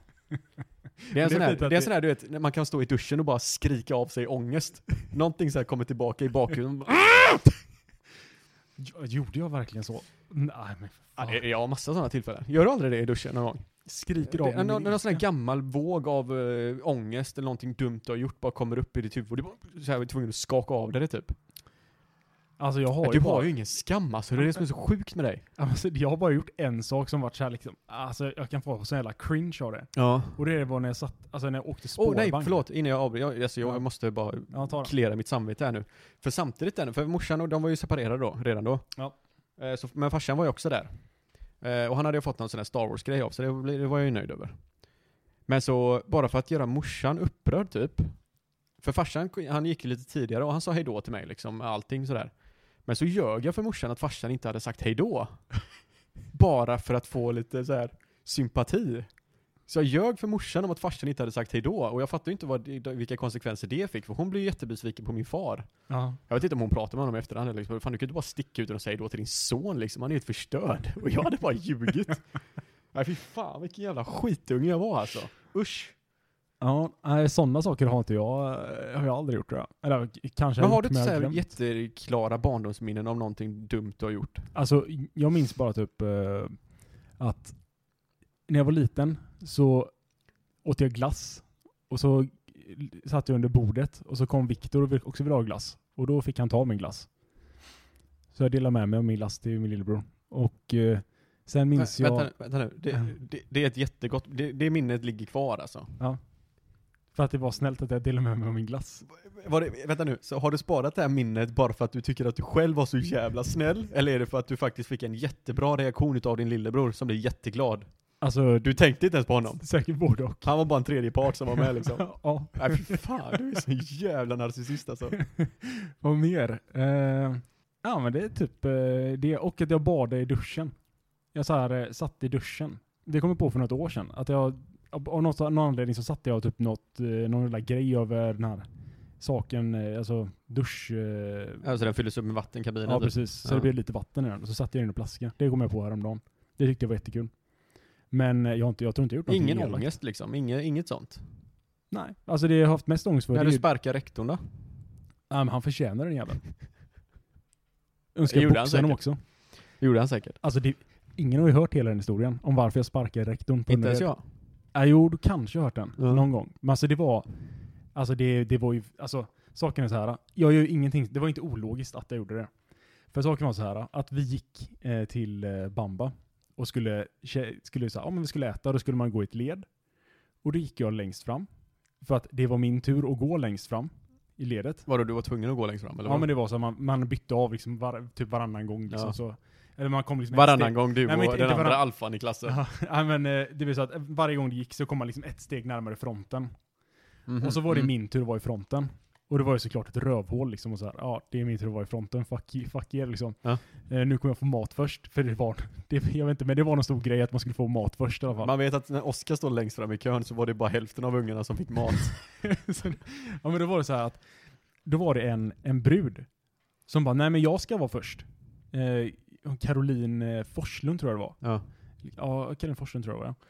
Speaker 3: Det
Speaker 1: är
Speaker 3: är en sån här,
Speaker 1: fint att
Speaker 3: det är en
Speaker 1: det-
Speaker 3: sån här du vet, när man kan stå i duschen och bara skrika av sig ångest. Någonting så här kommer tillbaka i bakgrunden.
Speaker 1: Gj- Gjorde jag verkligen så? Nej men för
Speaker 3: Ja,
Speaker 1: fan.
Speaker 3: det- jag har massa sådana tillfällen. Gör du aldrig det i duschen någon gång?
Speaker 1: Skriker
Speaker 3: Det,
Speaker 1: av
Speaker 3: är någon,
Speaker 1: mig.
Speaker 3: någon sån här gammal våg av äh, ångest eller någonting dumt du har gjort bara kommer upp i ditt huvud och du bara, så här, är tvungen att skaka av dig det typ.
Speaker 1: Alltså jag har
Speaker 3: du
Speaker 1: bara-
Speaker 3: har ju ingen skam alltså, det är det som är så sjukt med dig.
Speaker 1: Alltså, jag har bara gjort en sak som varit så här liksom, alltså jag kan få sån jävla cringe av det.
Speaker 3: Ja.
Speaker 1: Och det var när jag satt, alltså när jag åkte
Speaker 3: Åh oh, nej,
Speaker 1: spårvagn.
Speaker 3: förlåt, innan jag avbryter. Jag, alltså, jag
Speaker 1: Ja.
Speaker 3: måste bara
Speaker 1: Ja, ta det.
Speaker 3: klera mitt samvete här nu. För samtidigt där, för morsan och de var ju separerade då, redan då.
Speaker 1: Ja.
Speaker 3: Eh, så, men farsan var ju också där. Eh, och han hade ju fått någon sån här Star Wars-grej av, så det, blir- det var jag ju nöjd över. Men så, bara för att göra morsan upprörd typ. För farsan, han gick ju lite tidigare och han sa hejdå till mig liksom, allting sådär. Men så ljög jag för morsan att farsan inte hade sagt hejdå. bara för att få lite så här sympati. Så jag ljög för morsan om att farsan inte hade sagt hejdå och jag fattar ju inte vad, det- vilka konsekvenser det fick för hon blev ju jättebesviken på min far.
Speaker 1: Ja.
Speaker 3: Jag vet inte om hon pratade med honom i efterhand eller liksom, fan du kan ju inte bara sticka ut och säga då till din son liksom, han är ju helt förstörd. Och jag hade bara ljugit. Nej fy fan vilken jävla skitunge jag var alltså. Usch.
Speaker 1: Ja, nej sådana saker har inte jag, eh, har jag aldrig gjort tror jag. Eller k- kanske jag
Speaker 3: Men har du
Speaker 1: gjort,
Speaker 3: inte
Speaker 1: jag
Speaker 3: såhär
Speaker 1: glömt.
Speaker 3: jätteklara barndomsminnen om någonting dumt du har gjort?
Speaker 1: Alltså jag minns bara typ eh, att när jag var liten så åt jag glass och så satt jag under bordet och så kom Viktor och vill- också ville ha glass och då fick han ta min glass. Så jag delade med mig av min glass till min lillebror. Och eh, sen minns
Speaker 3: Vä-
Speaker 1: jag...
Speaker 3: vänta, vänta nu, det, det, det är ett jättegott, det, det minnet ligger kvar alltså.
Speaker 1: För att det var snällt att jag delade med mig av min glass.
Speaker 3: Var det, vänta nu, så har du sparat det här minnet bara för att du tycker att du själv var så jävla snäll? Eller är det för att du faktiskt fick en jättebra reaktion utav din lillebror som blev jätteglad?
Speaker 1: Alltså, du
Speaker 3: Du tänkte inte ens på honom.
Speaker 1: säkert både och.
Speaker 3: Han var bara en tredje part som var med liksom.
Speaker 1: ja.
Speaker 3: Nej fy fan, du är så jävla narcissist alltså.
Speaker 1: Vad mer? Eh, ja men det är typ eh, det. Och att jag badade i duschen. Jag så här, eh, satt i duschen. Det kom jag på för något år sedan. Att jag, av av något, någon anledning så satte jag typ något, eh, någon lilla grej över den här saken, eh, alltså dusch... Eh,
Speaker 3: Alltså den fylldes upp med vatten, kabinen
Speaker 1: ja
Speaker 3: typ.
Speaker 1: precis, så
Speaker 3: Ja.
Speaker 1: det blev lite vatten i den. Och så satte jag den i flaska. Det kom jag på häromdagen. Det tyckte jag var jättekul. Men eh, jag, har inte, jag tror inte jag gjort någonting
Speaker 3: Ingen
Speaker 1: elakt.
Speaker 3: ångest liksom, inget, inget sånt.
Speaker 1: Nej, alltså det jag har haft mest ångest för
Speaker 3: När
Speaker 1: det är
Speaker 3: du
Speaker 1: ju
Speaker 3: sparkar rektorn då?
Speaker 1: Ja, men han förtjänar den jäveln. Önskar
Speaker 3: Det
Speaker 1: jag
Speaker 3: gjorde han
Speaker 1: boxa honom också.
Speaker 3: säkert. Det gjorde han säkert.
Speaker 1: Alltså det, ingen har ju hört hela den historien om varför jag sparkade rektorn. På
Speaker 3: Inte ens
Speaker 1: universitet.
Speaker 3: jag.
Speaker 1: Ja, jo, du kanske har hört den
Speaker 3: Ja.
Speaker 1: någon gång. Men alltså det var, alltså det, det var ju, alltså saken är så här. Jag gör ju ingenting, det var inte ologiskt att jag gjorde det. För saken var så här att vi gick eh, till eh, Bamba och skulle, tje- skulle så här, ja, men vi skulle äta och då skulle man gå i ett led. Och då gick jag längst fram. För att det var min tur att gå längst fram i ledet.
Speaker 3: Vadå, du var tvungen att gå längst fram eller?
Speaker 1: Ja
Speaker 3: vad?
Speaker 1: men det var så, att man, man bytte av liksom var, typ varannan gång liksom
Speaker 3: Ja.
Speaker 1: så. Eller man kom liksom ett
Speaker 3: Varannan gång du
Speaker 1: Nej, men
Speaker 3: och
Speaker 1: inte-
Speaker 3: den
Speaker 1: inte
Speaker 3: andra
Speaker 1: varann-
Speaker 3: alfan i klassen.
Speaker 1: steg. Ja, men eh, det blir så att varje gång det gick så kom man liksom ett steg närmare fronten.
Speaker 3: Mhm.
Speaker 1: Och så var det
Speaker 3: Mm.
Speaker 1: min tur att vara i fronten. Och det var ju såklart ett rövhål liksom och så här, ja det är min tur att vara i fronten, fuck, you, fuck er liksom.
Speaker 3: Ja.
Speaker 1: Eh, nu kommer jag få mat först, för det var, det, jag vet inte, men det var någon stor grej att man skulle få mat först i alla fall.
Speaker 3: Man vet att när Oskar står längst fram i kön så var det bara hälften av ungarna som fick mat.
Speaker 1: Så- ja men då var det så här att Då var det en, en brud som bara, nej men jag ska vara först. Eh, Caroline eh, Forslund tror jag det var.
Speaker 3: Ja.
Speaker 1: Ja, Caroline Forslund tror jag det var. ja.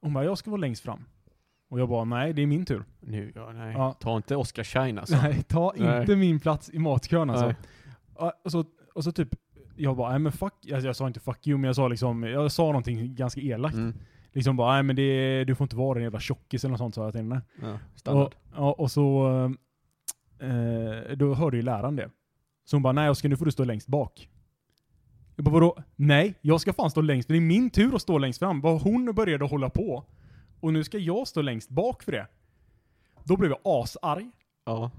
Speaker 1: Hon bara, jag ska vara längst fram. Och jag bara, nej det är min tur.
Speaker 3: Nu, ja, nej.
Speaker 1: Ja.
Speaker 3: Ta inte Oscar Shine alltså.
Speaker 1: Nej, ta
Speaker 3: Nej.
Speaker 1: inte min plats i matkön alltså.
Speaker 3: Nej.
Speaker 1: Ja, Och så, och så typ, jag bara, nej men fuck, alltså, jag sa inte fuck you, men jag sa liksom, jag sa någonting ganska elakt.
Speaker 3: Mm.
Speaker 1: Liksom bara, nej men det, du får inte vara den jävla tjockis eller något sånt sa jag till henne.
Speaker 3: Ja, standard.
Speaker 1: Och, ja, och så, eh, då hörde ju läraren det. Så hon bara, nej Oskar nu får du stå längst bak. Jag bara, vadå? Nej, jag ska fan stå längst, det är min tur att stå längst fram. Vad hon började hålla på. Och nu ska jag stå längst bak för det. Då blev jag asarg.
Speaker 3: Ja.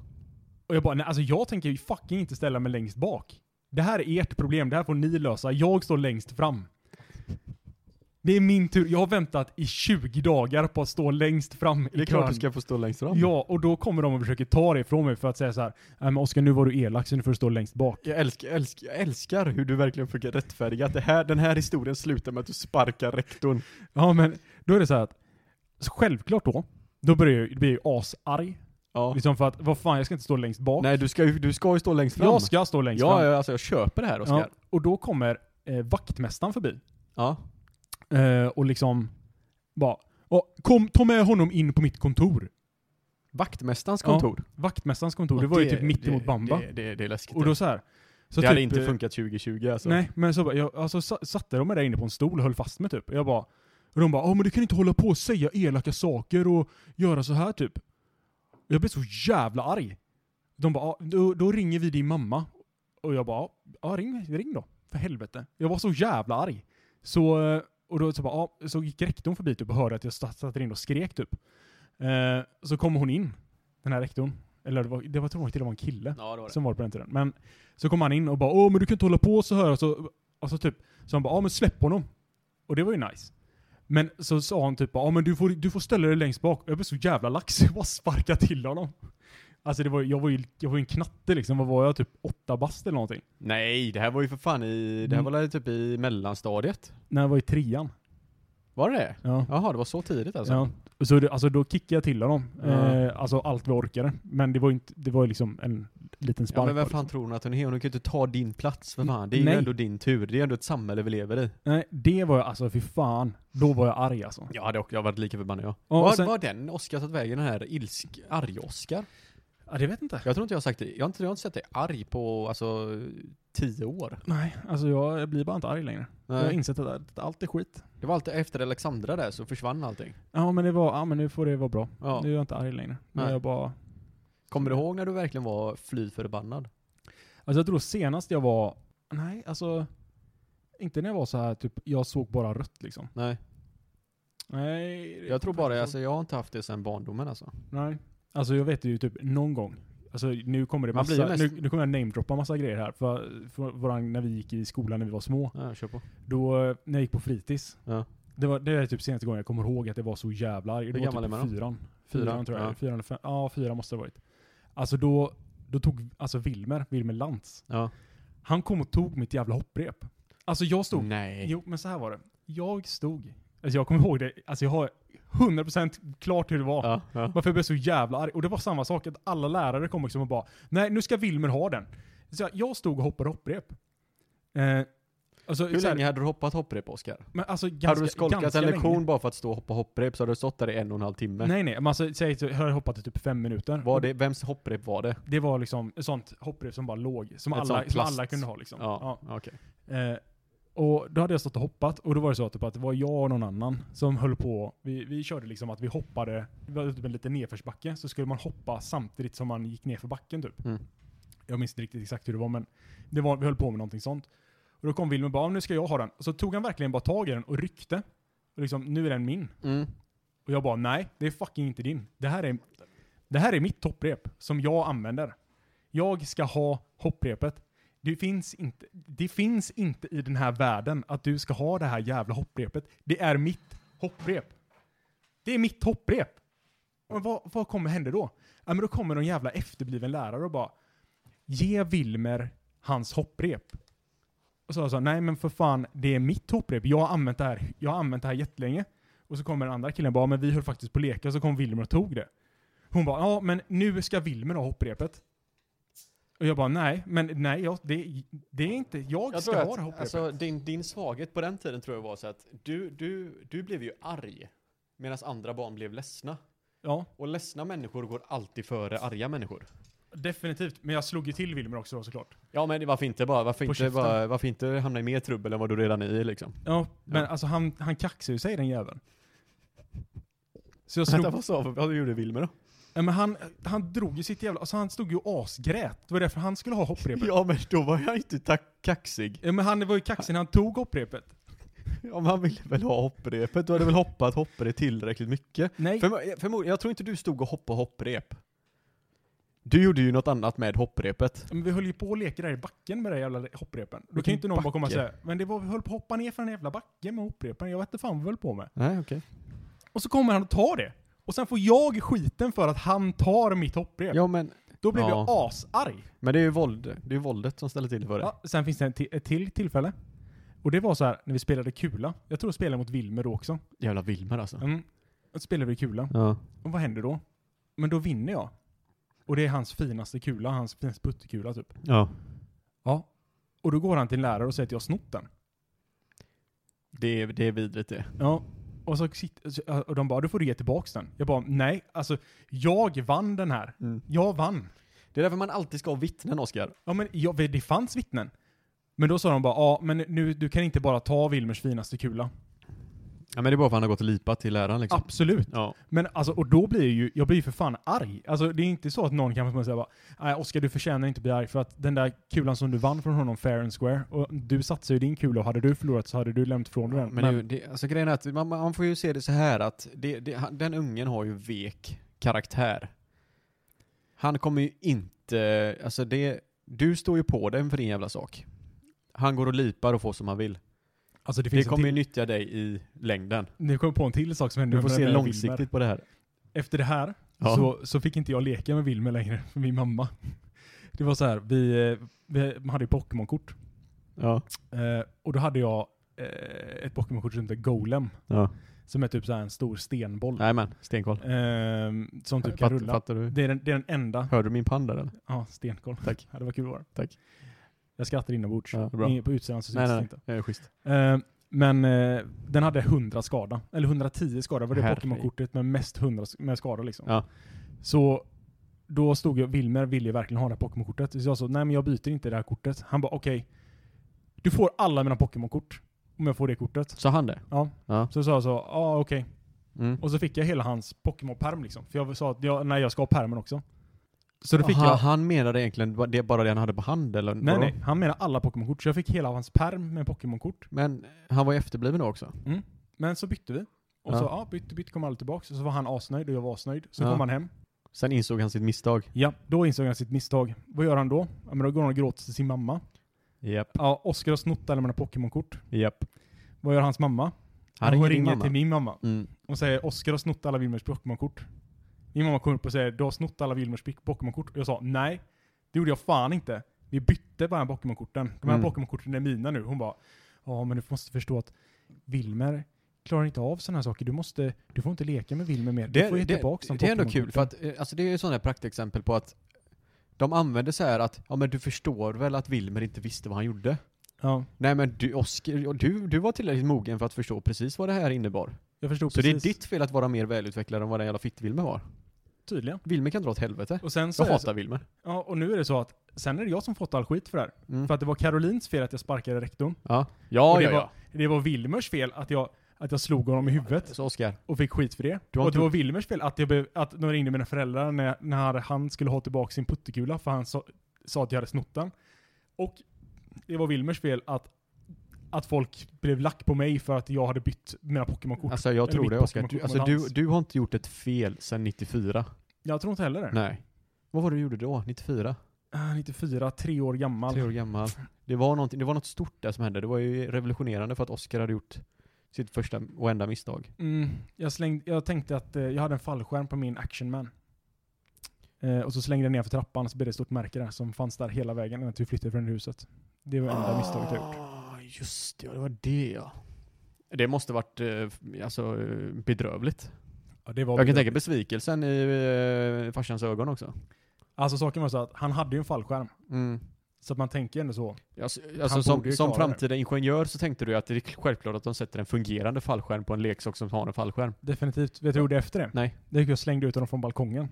Speaker 1: Och jag bara, nej alltså jag tänker ju fucking inte ställa mig längst bak. Det här är ert problem, det här får ni lösa. Jag står längst fram. Det är min tur. Jag har väntat i 20 dagar på att stå längst fram i
Speaker 3: Det är klart
Speaker 1: kön.
Speaker 3: du ska få stå längst fram.
Speaker 1: Ja, och då kommer de och försöker ta det ifrån mig för att säga så här, nej men Oskar nu var du elak så nu får du stå längst bak.
Speaker 3: Jag älskar, jag älskar, jag älskar hur du verkligen försöker rättfärdiga att det här, den här historien slutar med att du sparkar rektorn.
Speaker 1: Ja men, då är det så här att, så självklart då, då börjar jag, blir jag ju asarg.
Speaker 3: Ja.
Speaker 1: Liksom för att, vad fan jag ska inte stå längst bak.
Speaker 3: Nej, du ska, ju- du ska ju stå längst fram.
Speaker 1: jag ska stå längst
Speaker 3: ja,
Speaker 1: fram.
Speaker 3: ja, alltså jag köper det här Oskar.
Speaker 1: Ja, och då kommer eh, vaktmästaren förbi.
Speaker 3: Ja.
Speaker 1: Eh, och liksom bara, "Ja, kom, ta med honom in på mitt kontor.
Speaker 3: Vaktmästarens
Speaker 1: Ja.
Speaker 3: kontor.
Speaker 1: Vaktmästarens kontor,
Speaker 3: Och
Speaker 1: det var ju typ mitt emot Bamba.
Speaker 3: Det, det, det är läskigt.
Speaker 1: och då så här. Så
Speaker 3: det hade
Speaker 1: typ,
Speaker 3: inte
Speaker 1: eh,
Speaker 3: funkat 2020 alltså.
Speaker 1: Nej, men så bara, jag, alltså, sa- satte de mig där inne på en stol och höll fast mig typ. Jag bara, och de bara "Ja, men du kan inte hålla på och säga elaka saker och göra så här typ. Jag blev så jävla arg. De bara, "Ja, då, då ringer vi din mamma. Och jag bara, ja ring, ring då. För helvete. Jag var så jävla arg. Så, eh, och då så bara, "Ja." så gick rektorn förbi typ och hörde att jag sta- satt där inne och skrek typ. Eh, så kom hon in, den här rektorn. Eller det var, det var tror jag till och med en kille
Speaker 3: Ja, det var det.
Speaker 1: som var på den tiden. Men så kom han in och bara åh men du kan inte hålla på så här. Och så, och så typ, så han bara ja men släpp honom. Och det var ju nice. Men så sa han typ ja men du får, du får ställa dig längst bak. Jag blev så jävla lax, jag bara sparkade till honom. Alltså det var, jag var ju jag var ju en knatte liksom, vad var jag? Typ åtta bast eller någonting?
Speaker 3: Nej, det här var ju för fan i, det här
Speaker 1: Mm.
Speaker 3: var väl typ i mellanstadiet.
Speaker 1: När jag var i trean.
Speaker 3: Var det det?
Speaker 1: Ja.
Speaker 3: Jaha, det var så tidigt alltså?
Speaker 1: ja. Så det, alltså då kickade jag till honom.
Speaker 3: Ja.
Speaker 1: Eh, alltså allt vi orkade. Men det var ju inte, det var ju liksom en liten spark.
Speaker 3: Ja, men vem
Speaker 1: bara,
Speaker 3: fan
Speaker 1: liksom.
Speaker 3: tror hon att hon är? Hon kan ju inte ta din plats för fan. Det är
Speaker 1: Nej.
Speaker 3: ju ändå din tur. Det är ändå ett samhälle vi lever i.
Speaker 1: Nej, det var jag, alltså fy fan. Då var jag arg alltså.
Speaker 3: Jag hade också, jag varit lika förbannad jag.
Speaker 1: Ja, och
Speaker 3: var,
Speaker 1: sen-
Speaker 3: var den Oscar tagit vägen, den här ilsk, arg Oscar?
Speaker 1: Ja, det vet inte.
Speaker 3: Jag tror inte jag har sagt det. Jag har inte, jag har inte sett dig arg på, alltså, tio år.
Speaker 1: Nej, alltså jag, jag blir bara inte arg längre. Jag har
Speaker 3: Nej.
Speaker 1: insett att att allt är skit.
Speaker 3: Det var alltid efter Alexandra där så försvann allting.
Speaker 1: Ja men, det var, ja, men nu får det vara bra.
Speaker 3: Ja.
Speaker 1: Nu är jag inte arg längre. Nu är
Speaker 3: Nej.
Speaker 1: jag bara...
Speaker 3: Kommer du ihåg när du verkligen var fly förbannad?
Speaker 1: Alltså jag tror senast jag var... Nej, alltså... Inte när jag var så här typ, jag såg bara rött liksom.
Speaker 3: Nej.
Speaker 1: Nej. det-
Speaker 3: Jag tror bara, alltså jag har inte haft det sedan barndomen alltså.
Speaker 1: Nej. Alltså jag vet ju typ någon gång. Alltså nu kommer det
Speaker 3: Man blir
Speaker 1: massa,
Speaker 3: ju mest-
Speaker 1: nu, nu kommer jag namedroppa massa grejer här. För, för våran, när vi gick i skolan när vi var små.
Speaker 3: Ja, kör på.
Speaker 1: Då, eh, när jag gick på fritids.
Speaker 3: Ja.
Speaker 1: Det, var, det är typ senaste gången jag kommer ihåg att det var så jävla arg. Det var
Speaker 3: Hur gammal
Speaker 1: typ
Speaker 3: är man då?
Speaker 1: fyran. Fyran tror jag.
Speaker 3: Ja.
Speaker 1: Fyran eller fem. Ja, fyra måste det ha varit. Alltså då, då tog alltså Wilmer, Wilmer Lantz,
Speaker 3: Ja.
Speaker 1: han kom och tog mitt jävla hopprep. Alltså jag stod,
Speaker 3: Nej.
Speaker 1: jo men så här var det. Jag stod, alltså jag kommer ihåg det, alltså jag har 100% klart hur det var.
Speaker 3: Ja, ja.
Speaker 1: Varför jag blev så jävla arg. Och det var samma sak, att alla lärare kom liksom och bara Nej, nu ska Wilmer ha den. Så jag, jag stod och hoppade hopprep. Eh, alltså,
Speaker 3: Hur
Speaker 1: så här-
Speaker 3: länge hade du hoppat hopprep Oskar?
Speaker 1: Men alltså ganska,
Speaker 3: Hade du skolkat
Speaker 1: ganska
Speaker 3: en
Speaker 1: länge.
Speaker 3: lektion bara för att stå och hoppa hopprep så hade du stått där i en och en halv timme?
Speaker 1: Nej nej, men alltså, säg att jag har hoppat i typ fem minuter.
Speaker 3: Var det, vems hopprep var det?
Speaker 1: Det var liksom ett sånt hopprep som bara låg, som,
Speaker 3: Ett
Speaker 1: alla,
Speaker 3: sånt
Speaker 1: som
Speaker 3: plast.
Speaker 1: alla kunde ha liksom.
Speaker 3: Ja, okej.
Speaker 1: Ja. Eh, och då hade jag stått och hoppat och då var det så typ, att det var jag och någon annan som höll på. Vi, vi körde liksom att vi hoppade, det var typ en liten nedförsbacke, så skulle man hoppa samtidigt som man gick ner för backen typ.
Speaker 3: Mm.
Speaker 1: Jag minns inte riktigt exakt hur det var men det var, vi höll på med någonting sånt. Och då kom Wilmer och bara, nu ska jag ha den. Och så tog han verkligen bara tag i den och ryckte. Och liksom, nu är den min.
Speaker 3: Mm.
Speaker 1: Och jag bara nej, det är fucking inte din. Det här är, det här är mitt hopprep som jag använder. Jag ska ha hopprepet. Det finns, inte, det finns inte i den här världen att du ska ha det här jävla hopprepet. Det är mitt hopprep. Det är mitt hopprep. Men vad, vad kommer hända då? Ja, men då kommer någon jävla efterbliven lärare och bara ge Wilmer hans hopprep. Och så sa jag så här, nej men för fan, det är mitt hopprep. Jag har använt det här, jag har använt det här jättelänge. Och så kommer den andra killen och bara, men vi höll faktiskt på att leka, så kom Wilmer och tog det. Hon bara, ja men nu ska Wilmer ha hopprepet. Och jag bara nej, men nej, jag, det, det är inte, jag,
Speaker 3: Jag
Speaker 1: ska
Speaker 3: tror
Speaker 1: ha det
Speaker 3: att,
Speaker 1: hopprepet.
Speaker 3: alltså, din, din svaghet på den tiden tror jag var så att du, du, du blev ju arg medan andra barn blev ledsna.
Speaker 1: ja,
Speaker 3: Och ledsna människor går alltid före arga människor.
Speaker 1: definitivt. Men jag slog ju till Wilmer också då såklart.
Speaker 3: Ja men det- varför inte bara, varför
Speaker 1: På
Speaker 3: inte,
Speaker 1: käften.
Speaker 3: bara, varför inte hamna i mer trubbel än vad du redan är i liksom?
Speaker 1: Ja, men
Speaker 3: Ja.
Speaker 1: alltså han, han kaxade ju sig den jäveln. Så jag slog,
Speaker 3: Vänta, vad sa vad gjorde Wilmer då?
Speaker 1: ja, men han, han drog ju sitt jävla, alltså han stod ju och asgrät. Det var därför han skulle ha hopprepet. Ja.
Speaker 3: Ja men då var jag inte tack kaxig.
Speaker 1: men han var ju kaxig när han tog hopprepet.
Speaker 3: Ja men han ville väl ha hopprepet, du hade väl hoppat hopprep tillräckligt mycket?
Speaker 1: Nej,
Speaker 3: För, förmodligen, jag tror inte du stod och hoppade hopprep. Du gjorde ju något annat med hopprepet.
Speaker 1: men vi höll ju på och leka där i backen med det jävla hopprepen. Då kan
Speaker 3: Vilken
Speaker 1: ju inte någon bara komma och
Speaker 3: backe?
Speaker 1: säga, men det var, vi höll på att hoppa ner för den jävla backen med hopprepen. Jag vet inte fan vad vi höll på med.
Speaker 3: Nej okej.
Speaker 1: Och så kommer han och tar det. Och sen får jag skiten för att han tar mitt hopprep.
Speaker 3: Ja men,
Speaker 1: Då blev
Speaker 3: Ja.
Speaker 1: jag asarg.
Speaker 3: men det är ju våld, det är ju våldet som ställer till för det.
Speaker 1: Ja, sen finns det en ti- ett till tillfälle. Och det var så här när vi spelade kula. Jag tror jag spelade mot Wilmer då också.
Speaker 3: Jävla Wilmer alltså.
Speaker 1: Mm. Då spelade vi kula.
Speaker 3: Ja.
Speaker 1: Och vad händer då? Men då vinner jag. Och det är hans finaste kula, hans finaste puttekula typ.
Speaker 3: ja.
Speaker 1: Ja. Och då går han till en lärare och säger att jag har snott den.
Speaker 3: Det, är- det är vidrigt det.
Speaker 1: Ja. Och, så sitter, så- och de bara, du får du ge tillbaks den. Jag bara, nej, alltså jag vann den här. Jag vann.
Speaker 3: Det är därför man alltid ska ha vittnen Oskar.
Speaker 1: Ja men ja, det fanns vittnen. Men då sa de bara, ja men nu, du kan inte bara ta Wilmers finaste kula.
Speaker 3: Ja men det är bara för att han har gått och lipat till läraren liksom.
Speaker 1: Absolut.
Speaker 3: Ja.
Speaker 1: Men alltså, och då blir jag ju, jag blir ju för fan arg. Alltså det är inte så att någon kan säga bara, nej Oskar du förtjänar inte att bli arg för att den där kulan som du vann från honom fair and square, och du satsade ju din kula och hade du förlorat så hade du lämnat från dig den.
Speaker 3: Men, Det, är ju- det, alltså grejen är att man, man får ju se det så här att det, det, han, den ungen har ju vek karaktär. Han kommer ju inte, alltså det, du står ju på den för din jävla sak. Han går och lipar och får som han vill.
Speaker 1: alltså det
Speaker 3: Det
Speaker 1: finns en
Speaker 3: kommer ju
Speaker 1: till,
Speaker 3: nyttja dig i längden.
Speaker 1: nu kommer jag på en till sak som hände
Speaker 3: Du får
Speaker 1: med
Speaker 3: se
Speaker 1: den där
Speaker 3: långsiktigt
Speaker 1: Wilmer.
Speaker 3: på det här.
Speaker 1: Efter det här
Speaker 3: Ja.
Speaker 1: så, så fick inte jag leka med Wilmer längre, för min mamma. Det var så här, vi, eh, vi hade ju Pokémon-kort.
Speaker 3: Ja.
Speaker 1: Eh, och då hade jag eh, ett Pokémon-kort som hette Golem,
Speaker 3: ja.
Speaker 1: som är typ så här en stor stenboll.
Speaker 3: Nej men, stenkoll.
Speaker 1: Ehm, som typ kan
Speaker 3: Fatt,
Speaker 1: rulla.
Speaker 3: fattar du?
Speaker 1: Det är den, det är den enda.
Speaker 3: Hörde du min panda eller?
Speaker 1: Ja, stenkoll.
Speaker 3: Tack.
Speaker 1: Ja, det var kul att vara.
Speaker 3: Tack.
Speaker 1: Jag skrattar inombords.
Speaker 3: Ja, bra.
Speaker 1: Ingen- På utsidan så syns
Speaker 3: Nej
Speaker 1: det
Speaker 3: nej,
Speaker 1: inte.
Speaker 3: nej. Eh, Schysst.
Speaker 1: Ehm, men eh, den hade 100 skada. Eller 110 skada var det
Speaker 3: Herregud.
Speaker 1: Pokémon-kortet med mest 100 sk- med skada liksom.
Speaker 3: Ja.
Speaker 1: Så då stod jag, Wilmer ville ju verkligen ha det här Pokémon-kortet. Så jag sa, nej men jag byter inte det här kortet. Han bara, okej. du får alla mina Pokémon-kort. Om jag får det kortet.
Speaker 3: Sa han det?
Speaker 1: Ja.
Speaker 3: Ja.
Speaker 1: Så sa jag så, ja ah, okej.
Speaker 3: Mm.
Speaker 1: Och så fick jag hela hans Pokémon-perm liksom. För jag sa att jag, nej, jag ska ha permen också. Så då fick
Speaker 3: han,
Speaker 1: jag...
Speaker 3: han menade egentligen ba- det bara det han hade på hand eller?
Speaker 1: Nej,
Speaker 3: vadå?
Speaker 1: nej. Han menar alla Pokémon-kort. Så jag fick hela hans perm med Pokémon-kort.
Speaker 3: Men han var ju efterbliven då också.
Speaker 1: Men så bytte vi. Och
Speaker 3: Ja.
Speaker 1: så, ja, bytte, bytte, kom aldrig tillbaka. Så var han asnöjd och jag var asnöjd. Så
Speaker 3: Ja.
Speaker 1: kom han hem.
Speaker 3: Sen insåg han sitt misstag.
Speaker 1: Ja, då insåg han sitt misstag. Vad gör han då? Ja, men då går han och gråter till sin mamma.
Speaker 3: Japp,
Speaker 1: Ja, Oskar har snott alla mina Pokémon-kort.
Speaker 3: japp.
Speaker 1: Vad gör hans mamma?
Speaker 3: Han
Speaker 1: Hon
Speaker 3: ringer,
Speaker 1: ringer
Speaker 3: mamma.
Speaker 1: till min mamma
Speaker 3: Mm.
Speaker 1: och säger Oskar har snott alla Wilmers Pokémon-kort. Min mamma kommer upp och säger du har snott alla Wilmers Pik- Pokémon-kort. Och jag sa nej, det gjorde jag fan inte. Vi bytte bara Pokémon-korten. De här
Speaker 3: Mm.
Speaker 1: Pokémon-korten är mina nu. Hon bara ja men du måste förstå att Wilmer klarar inte av sådana här saker. Du, måste, du får inte leka med Wilmer mer. Du
Speaker 3: Det,
Speaker 1: får ge
Speaker 3: det,
Speaker 1: tillbaka
Speaker 3: det, är ändå kul för att eh, alltså, det är ju sådana här praktexempel på att de använder så här att ja men du förstår väl att Wilmer inte visste vad han gjorde?
Speaker 1: Ja,
Speaker 3: Nej men du Oskar, du, du var tillräckligt mogen för att förstå precis vad det här innebar.
Speaker 1: jag förstod
Speaker 3: Så det är
Speaker 1: precis.
Speaker 3: ditt fel att vara mer välutvecklad än vad den jävla fitt-Wilmer var.
Speaker 1: Tydligen.
Speaker 3: Wilmer kan dra åt helvete.
Speaker 1: Och sen så
Speaker 3: Jag
Speaker 1: är det så,
Speaker 3: hatar Wilmer.
Speaker 1: ja, och nu är det så att sen är det jag som fått all skit för det här.
Speaker 3: Mm.
Speaker 1: För att det var Carolins fel att jag sparkade rektorn.
Speaker 3: Ja, ja,
Speaker 1: och det,
Speaker 3: ja.
Speaker 1: var,
Speaker 3: ja.
Speaker 1: det var Wilmers fel att jag, att jag slog honom i huvudet.
Speaker 3: Så Oskar,
Speaker 1: och fick skit för det.
Speaker 3: Du har
Speaker 1: och
Speaker 3: inte
Speaker 1: det var Wilmers fel att, jag be, att de ringde mina föräldrar när, när han skulle ha tillbaka sin puttekula för han sa, sa att jag hade snott den. Och det var Wilmers fel att, att folk blev lack på mig för att jag hade bytt mina Pokémon-kort.
Speaker 3: alltså jag
Speaker 1: Eller
Speaker 3: tror
Speaker 1: mitt
Speaker 3: det Oskar. Du,
Speaker 1: Pokémon-kort
Speaker 3: alltså,
Speaker 1: mot
Speaker 3: du,
Speaker 1: hans.
Speaker 3: du har inte gjort ett fel sedan 94.
Speaker 1: Jag tror inte heller det.
Speaker 3: Nej. Vad var det du gjorde då? 94?
Speaker 1: Ah, 94, tre år gammal.
Speaker 3: Tre år gammal. Det var, någonting- det var något stort där som hände. Det var ju revolutionerande för att Oscar hade gjort sitt första och enda misstag.
Speaker 1: Mm, jag, slängde, jag tänkte att eh, jag hade en fallskärm på min Action Man. Eh, och så slängde jag ner för trappan så blev det ett stort märke där som fanns där hela vägen innan vi flyttade från huset. Det var enda misstaget jag gjort.
Speaker 3: Ah, Just det, ja, det var det ja. Det måste varit eh, alltså, eh, bedrövligt.
Speaker 1: Ja, det var
Speaker 3: Jag kan tänka besvikelsen i eh, farsans ögon också.
Speaker 1: Alltså saken var så att han hade ju en fallskärm.
Speaker 3: Mm.
Speaker 1: Så att man tänker ändå så.
Speaker 3: Alltså, alltså som,
Speaker 1: borde ju
Speaker 3: som
Speaker 1: klara det.
Speaker 3: framtida ingenjör så tänkte du ju att det är självklart att de sätter en fungerande fallskärm på en leksak som har en fallskärm.
Speaker 1: Definitivt. Vet du vad jag gjorde efter det?
Speaker 3: Nej.
Speaker 1: Det gick jag och slängde ut honom från balkongen.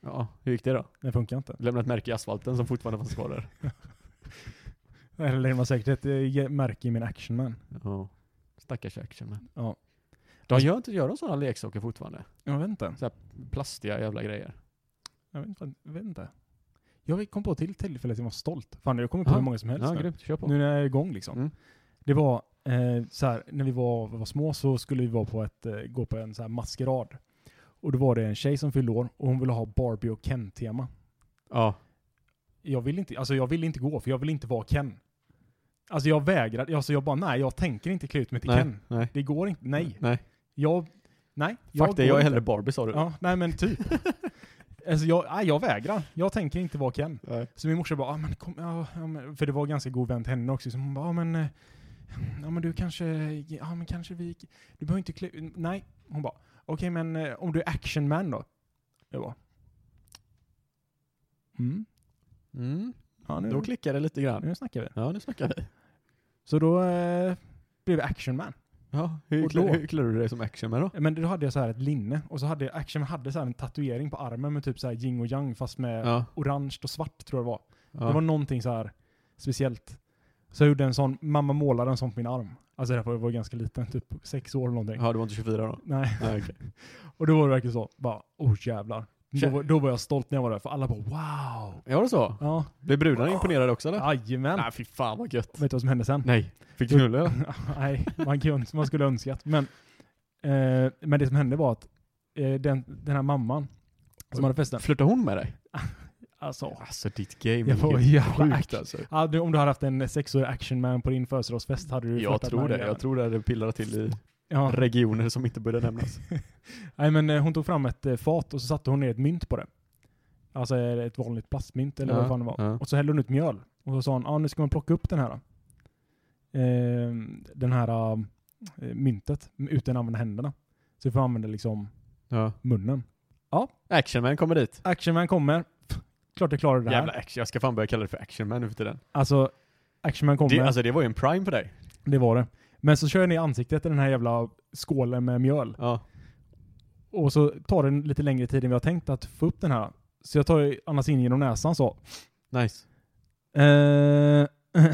Speaker 3: Ja, hur gick det då?
Speaker 1: Det funkar inte.
Speaker 3: Lämnat ett märke i asfalten som fortfarande fanns kvar där.
Speaker 1: Eller det var säkert ett eh, märke i min action man.
Speaker 3: Ja. Stackars actionman.
Speaker 1: Ja. Alltså-
Speaker 3: De gör inte, gör de sådana leksaker fortfarande?
Speaker 1: Jag vet inte.
Speaker 3: Plastiga jävla grejer.
Speaker 1: Jag vet inte. Jag, vet inte. jag kom på till tillfället jag var stolt. Fan, jag kommer på
Speaker 3: Ja.
Speaker 1: hur många som helst
Speaker 3: Ja,
Speaker 1: nu.
Speaker 3: grymt. Kör på.
Speaker 1: Nu när jag är igång liksom.
Speaker 3: Mm.
Speaker 1: Det var eh, så här, när vi var, var små så skulle vi vara på ett, eh, gå på en så här maskerad. Och då var det en tjej som fyllde år och hon ville ha Barbie och Ken-tema.
Speaker 3: Ja.
Speaker 1: Jag ville inte, alltså jag ville inte gå för jag ville inte vara Ken. Alltså jag vägrade, alltså jag bara nej, jag tänker inte klä ut mig till
Speaker 3: Nej.
Speaker 1: Ken.
Speaker 3: Nej.
Speaker 1: Det går inte, nej.
Speaker 3: Nej.
Speaker 1: Jag, nej.
Speaker 3: Fuck det, jag
Speaker 1: går
Speaker 3: är
Speaker 1: inte.
Speaker 3: hellre Barbie sa du.
Speaker 1: Ja, nej men typ. alltså jag, nej, jag vägrar. Jag tänker inte vara Ken.
Speaker 3: Nej.
Speaker 1: Så min morsa bara, ah, men kom, ja, ja, men, för det var en ganska god vän till henne också, så hon bara, ah, men, eh, ja men du kanske, ja men kanske vi, du behöver inte klä, nej. Hon bara, okej men eh, om du är actionman då? Jag bara, mm,
Speaker 3: Mm.
Speaker 1: ja nu,
Speaker 3: Då klickar det lite grann.
Speaker 1: nu snackar vi.
Speaker 3: Ja, nu snackar vi.
Speaker 1: Så då eh, blev jag actionman.
Speaker 3: Ja, hur,
Speaker 1: Och då?
Speaker 3: klär, hur klär du dig som actionman då?
Speaker 1: Men då hade jag så här ett linne, och så hade jag, actionman hade så här en tatuering på armen med typ så här yin och yang fast med
Speaker 3: Ja.
Speaker 1: orange och svart tror jag det var.
Speaker 3: ja.
Speaker 1: Det var någonting så här speciellt. Så jag gjorde en sån, mamma målade en sån på min arm. Alltså det här var jag var ganska liten, typ sex år eller någonting.
Speaker 3: ja, du var inte 24 då?
Speaker 1: Nej,
Speaker 3: Nej, okej.
Speaker 1: och då var det verkligen så, bara oh jävlar. Då
Speaker 3: Tja.
Speaker 1: var, då var jag stolt när jag var där, för alla bara wow.
Speaker 3: Ja, var det så?
Speaker 1: Ja,
Speaker 3: Blev brudarna imponerade också eller?
Speaker 1: jajamän.
Speaker 3: Nej, fy fan vad gött.
Speaker 1: Vet du vad som hände sen?
Speaker 3: Nej. Fick du knulla?
Speaker 1: Nej, man, kan, ju öns- man skulle önskat. Men, eh, men det som hände var att eh, den, den här mamman som hade festen,
Speaker 3: Flörtade hon med dig?
Speaker 1: alltså.
Speaker 3: Alltså ditt game
Speaker 1: Jag får jävla action.
Speaker 3: alltså.
Speaker 1: Ja, du- om du hade haft en sexårig actionman på din födelsedagsfest hade du
Speaker 3: Jag
Speaker 1: flörtat
Speaker 3: tror
Speaker 1: med
Speaker 3: det.
Speaker 1: henne.
Speaker 3: Jag tror det hade pillat till i
Speaker 1: Ja.
Speaker 3: regioner som inte borde nämnas.
Speaker 1: Nej men eh, hon tog fram ett eh, fat och så satte hon ner ett mynt på det. Alltså eh, ett vanligt plastmynt eller
Speaker 3: Ja,
Speaker 1: vad fan det var.
Speaker 3: ja.
Speaker 1: Och så hällde hon ut mjöl. Och så sa hon, ja ah, nu ska man plocka upp den här. Eh, den här eh, myntet utan att använda händerna. Så vi får använda liksom
Speaker 3: Ja.
Speaker 1: munnen.
Speaker 3: Actionman kommer dit.
Speaker 1: Actionman kommer. Pff, Klart jag klarar det här.
Speaker 3: Jävla action. Jag ska fan börja kalla det för actionman nu för tiden.
Speaker 1: Alltså, Actionman kommer.
Speaker 3: Det,
Speaker 1: Det,
Speaker 3: alltså det var ju en prime för dig.
Speaker 1: var det. Men så kör jag ner ansiktet i den här jävla skålen med mjöl.
Speaker 3: Ja.
Speaker 1: Och så tar det lite längre tid än vi har tänkt att få upp den här. Så jag tar ju annars in genom näsan så.
Speaker 3: Nice.
Speaker 1: Eh,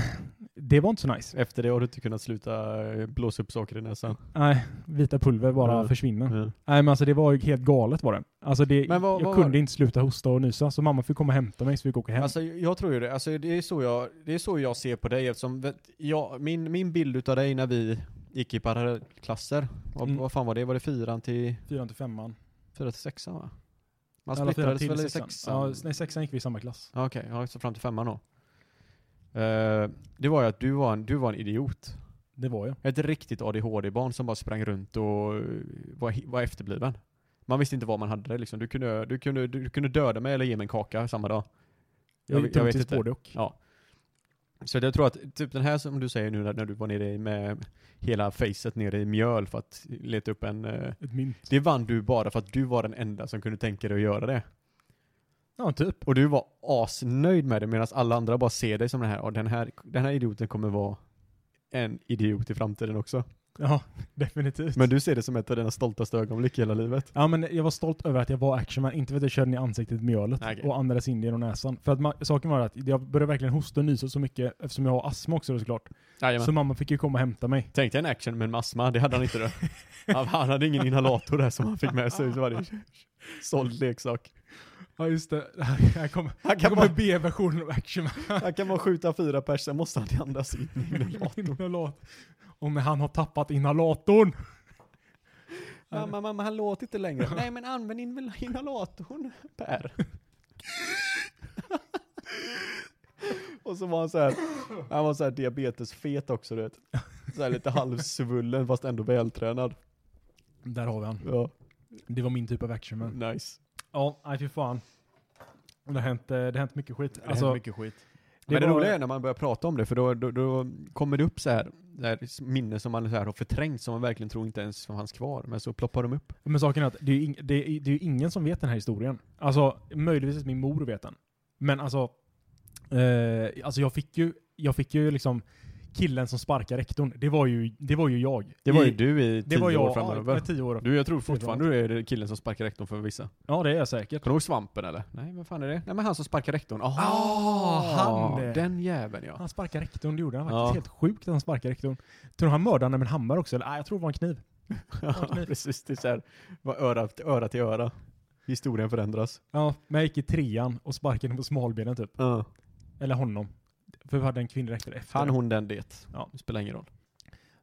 Speaker 1: det var inte så nice.
Speaker 3: Efter det har du inte kunnat sluta eh, blåsa upp saker i näsan.
Speaker 1: Nej, vita pulver bara
Speaker 3: Mm.
Speaker 1: försvinner.
Speaker 3: Ja.
Speaker 1: Nej men alltså det var ju helt galet var det. Alltså det,
Speaker 3: Men vad-
Speaker 1: jag
Speaker 3: vad var
Speaker 1: kunde
Speaker 3: det?
Speaker 1: inte sluta hosta och nysa så mamma fick komma och hämta mig så vi fick åka hem.
Speaker 3: Alltså jag tror ju det. Alltså det är så jag, det är så jag ser på dig eftersom vet- jag, min, min bild utav dig när vi gick i parallellklasser, vad,
Speaker 1: Mm.
Speaker 3: vad fan var det? Var det fyran till,
Speaker 1: fyran till femman.
Speaker 3: fyra till sexan va? Man
Speaker 1: Eller fyran
Speaker 3: splittrades
Speaker 1: till
Speaker 3: väl i
Speaker 1: sexan. Ja,
Speaker 3: sexan?
Speaker 1: s- nej sexan gick vi i samma klass.
Speaker 3: Ja, Okej, ja, så fram till femman då. Eh, det var ju att du var en, du var en idiot.
Speaker 1: Det var jag.
Speaker 3: Ett riktigt ADHD-barn som bara sprang runt och eh, var, he- var efterbliven. Man visste inte var man hade det liksom. Du kunde, du kunde, du kunde döda mig eller ge mig en kaka samma dag.
Speaker 1: Jag, jag,
Speaker 3: vet- jag vet
Speaker 1: vet
Speaker 3: inte.
Speaker 1: Både och.
Speaker 3: Ja. Så jag tror att typ den här som du säger nu när, när du var nere i- med hela facet nere i mjöl för att leta upp en... eh,
Speaker 1: Ett mynt.
Speaker 3: Det vann du bara för att du var den enda som kunde tänka dig att göra det.
Speaker 1: Ja, typ.
Speaker 3: Och du var asnöjd med det medan alla andra bara ser dig som den här, och den här, den här idioten kommer vara en idiot i framtiden också.
Speaker 1: Ja, definitivt.
Speaker 3: Men du ser det som ett av dina stoltaste ögonblick i hela livet.
Speaker 1: Ja men jag var stolt över att jag var actionman, inte för att jag körde ner ansiktet i mjölet
Speaker 3: Nej, okej.
Speaker 1: och andades in genom näsan. För att ma- saken var att jag började verkligen hosta och nysa så mycket eftersom jag har astma också då såklart.
Speaker 3: Jajamän.
Speaker 1: Så mamma fick ju komma och hämta mig.
Speaker 3: Tänk dig en action med en astma, det hade han inte då. Han han hade ingen inhalator där som han fick med sig ut varje såld leksak.
Speaker 1: Ja just det, här kommer,
Speaker 3: Han
Speaker 1: här
Speaker 3: kan,
Speaker 1: kommer
Speaker 3: bara,
Speaker 1: B-versionen av Action
Speaker 3: han kan bara skjuta fyra pers, sen måste han andas in i inhalatorn.
Speaker 1: Man. Om han har tappat inhalatorn.
Speaker 3: Mamma, mamma, han låter inte längre. Nej men använd inhal- inhalatorn, Per. Och så var han så här, han var så här diabetesfet också du vet. Så här lite halvsvullen fast ändå vältränad.
Speaker 1: Där har vi han.
Speaker 3: Ja,
Speaker 1: Det var min typ av actionman.
Speaker 3: nice.
Speaker 1: Ja, nej fy fan. Det har hänt, eh, det har hänt mycket skit.
Speaker 3: Alltså,
Speaker 1: Alltså,
Speaker 3: mycket skit.
Speaker 1: det
Speaker 3: men det
Speaker 1: var-
Speaker 3: roliga är när man börjar prata om det, för då, då, då kommer det upp så här, så här minnen som man så här har förträngt, som man verkligen tror inte ens fanns kvar, men så ploppar de upp.
Speaker 1: men saken är att det är, ju ing, det, är, det är ju ingen som vet den här historien. Alltså, möjligtvis att min mor vet den. Men alltså, eh, alltså jag fick ju, jag fick ju liksom killen som sparkar rektorn, det var ju, det var ju jag.
Speaker 3: Det var ju
Speaker 1: I-
Speaker 3: du i
Speaker 1: det
Speaker 3: tio
Speaker 1: var jag,
Speaker 3: år
Speaker 1: Ja,
Speaker 3: framöver.
Speaker 1: jag är tio år.
Speaker 3: Du, jag tror fortfarande du är killen som sparkar rektorn för vissa.
Speaker 1: Ja, det är jag säkert.
Speaker 3: Kommer du ihåg svampen eller? Nej, vem fan är det? Nej men han som sparkar rektorn. Aha,
Speaker 1: Ah, han.
Speaker 3: Den jäveln ja.
Speaker 1: Han sparkar rektorn, det gjorde han
Speaker 3: Ja.
Speaker 1: faktiskt. Helt sjukt att han sparkar rektorn. Tror du han mördade henne med en hammare också? Eller nej, jag tror det var en kniv.
Speaker 3: Ja, precis, det är såhär, öra, till- öra till öra. Historien förändras.
Speaker 1: Ja, men jag gick i trean och sparkade henne på smalbenen typ. Eller honom. För vi hade en kvinnlig rektor efter.
Speaker 3: Han,
Speaker 1: det.
Speaker 3: hon, den, det.
Speaker 1: Ja.
Speaker 3: Det spelar ingen roll.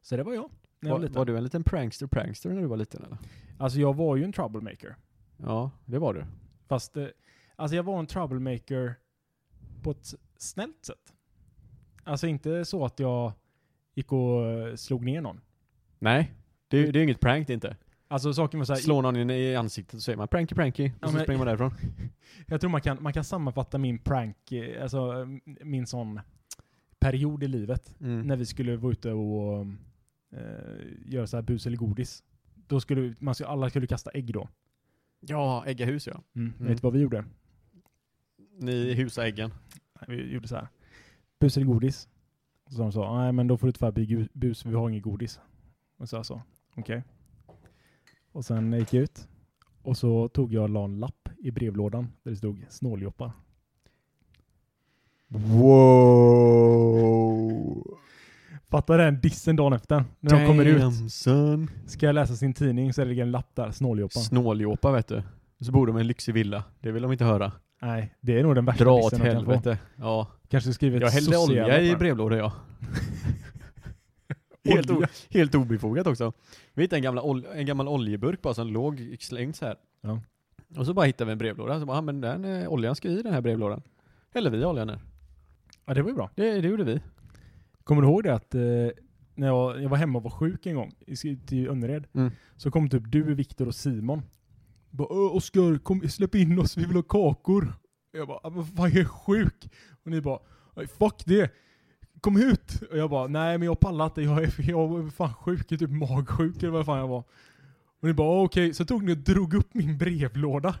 Speaker 1: Så det var jag. När jag
Speaker 3: Var,
Speaker 1: var, liten.
Speaker 3: var du en liten prankster prankster när du var liten eller?
Speaker 1: Alltså jag var ju en troublemaker.
Speaker 3: Ja, det var du.
Speaker 1: Fast, eh, alltså jag var en troublemaker på ett snällt sätt. Alltså inte så att jag gick och eh, slog ner någon.
Speaker 3: Nej, det, är- det är ju inget prank det är inte.
Speaker 1: Alltså saken var såhär,
Speaker 3: Slår någon in i ansiktet så säger man pranky pranky och
Speaker 1: Ja,
Speaker 3: så
Speaker 1: men-
Speaker 3: springer man därifrån.
Speaker 1: jag tror man kan, man kan sammanfatta min prank, eh, alltså eh, min sån period i livet.
Speaker 3: Mm.
Speaker 1: När vi skulle vara ute och eh, göra så här bus eller godis. Då skulle man, skulle- alla skulle kasta ägg då.
Speaker 3: Ja, äggahus ja.
Speaker 1: Mm.
Speaker 3: Mm.
Speaker 1: Vet du vad vi gjorde?
Speaker 3: Ni husar äggen.
Speaker 1: Nej, vi gjorde så här. Bus eller godis? Och så de sa, nej men då får du tyvärr bli gu- bus, vi har inget godis. Och så jag sa, okej. Och sen gick jag ut. Och så tog jag och la en lapp i brevlådan där det stod snåljåpar.
Speaker 3: Wow!
Speaker 1: Fattar den dissen dagen efter. När de kommer ut.
Speaker 3: Son.
Speaker 1: Ska jag läsa sin tidning så är det en lapp där, snåljåpar.
Speaker 3: Snåljåpar vet du. Så bor de i en lyxig villa. Det vill de inte höra.
Speaker 1: nej, det är nog den värsta
Speaker 3: Dra åt
Speaker 1: dissen man kan få.
Speaker 3: helvete. Ja.
Speaker 1: Kanske skrivit
Speaker 3: Jag hällde
Speaker 1: sosse
Speaker 3: olja i
Speaker 1: lappar.
Speaker 3: brevlådan jag. helt, o-
Speaker 1: Olja.
Speaker 3: helt obefogat också. Vi hittade en, gamla ol- en gammal oljeburk bara som låg slängd så här.
Speaker 1: Ja.
Speaker 3: Och så bara hittade vi en brevlåda. Så bara, "Ah, men den eh, oljan ska i den här brevlådan. Hällde vi oljan där.
Speaker 1: Ja, det var ju bra.
Speaker 3: Det, det gjorde vi.
Speaker 1: Kommer du ihåg det att eh, när jag, jag var hemma och var sjuk en gång i, i Önnered
Speaker 3: Mm.
Speaker 1: så kom typ du, Viktor och Simon. Bara "Ö, Oskar, kom släpp in oss, vi vill ha kakor. Jag bara, "Ah, men vad fan jag är sjuk. Och ni bara, "Aj, fuck det. Kom ut! Och jag bara, nej men jag pallar inte, jag är, jag är fan sjuk, jag är typ magsjuk eller vad fan jag var. Och ni bara, "Ah, okej. Så tog ni och drog upp min brevlåda.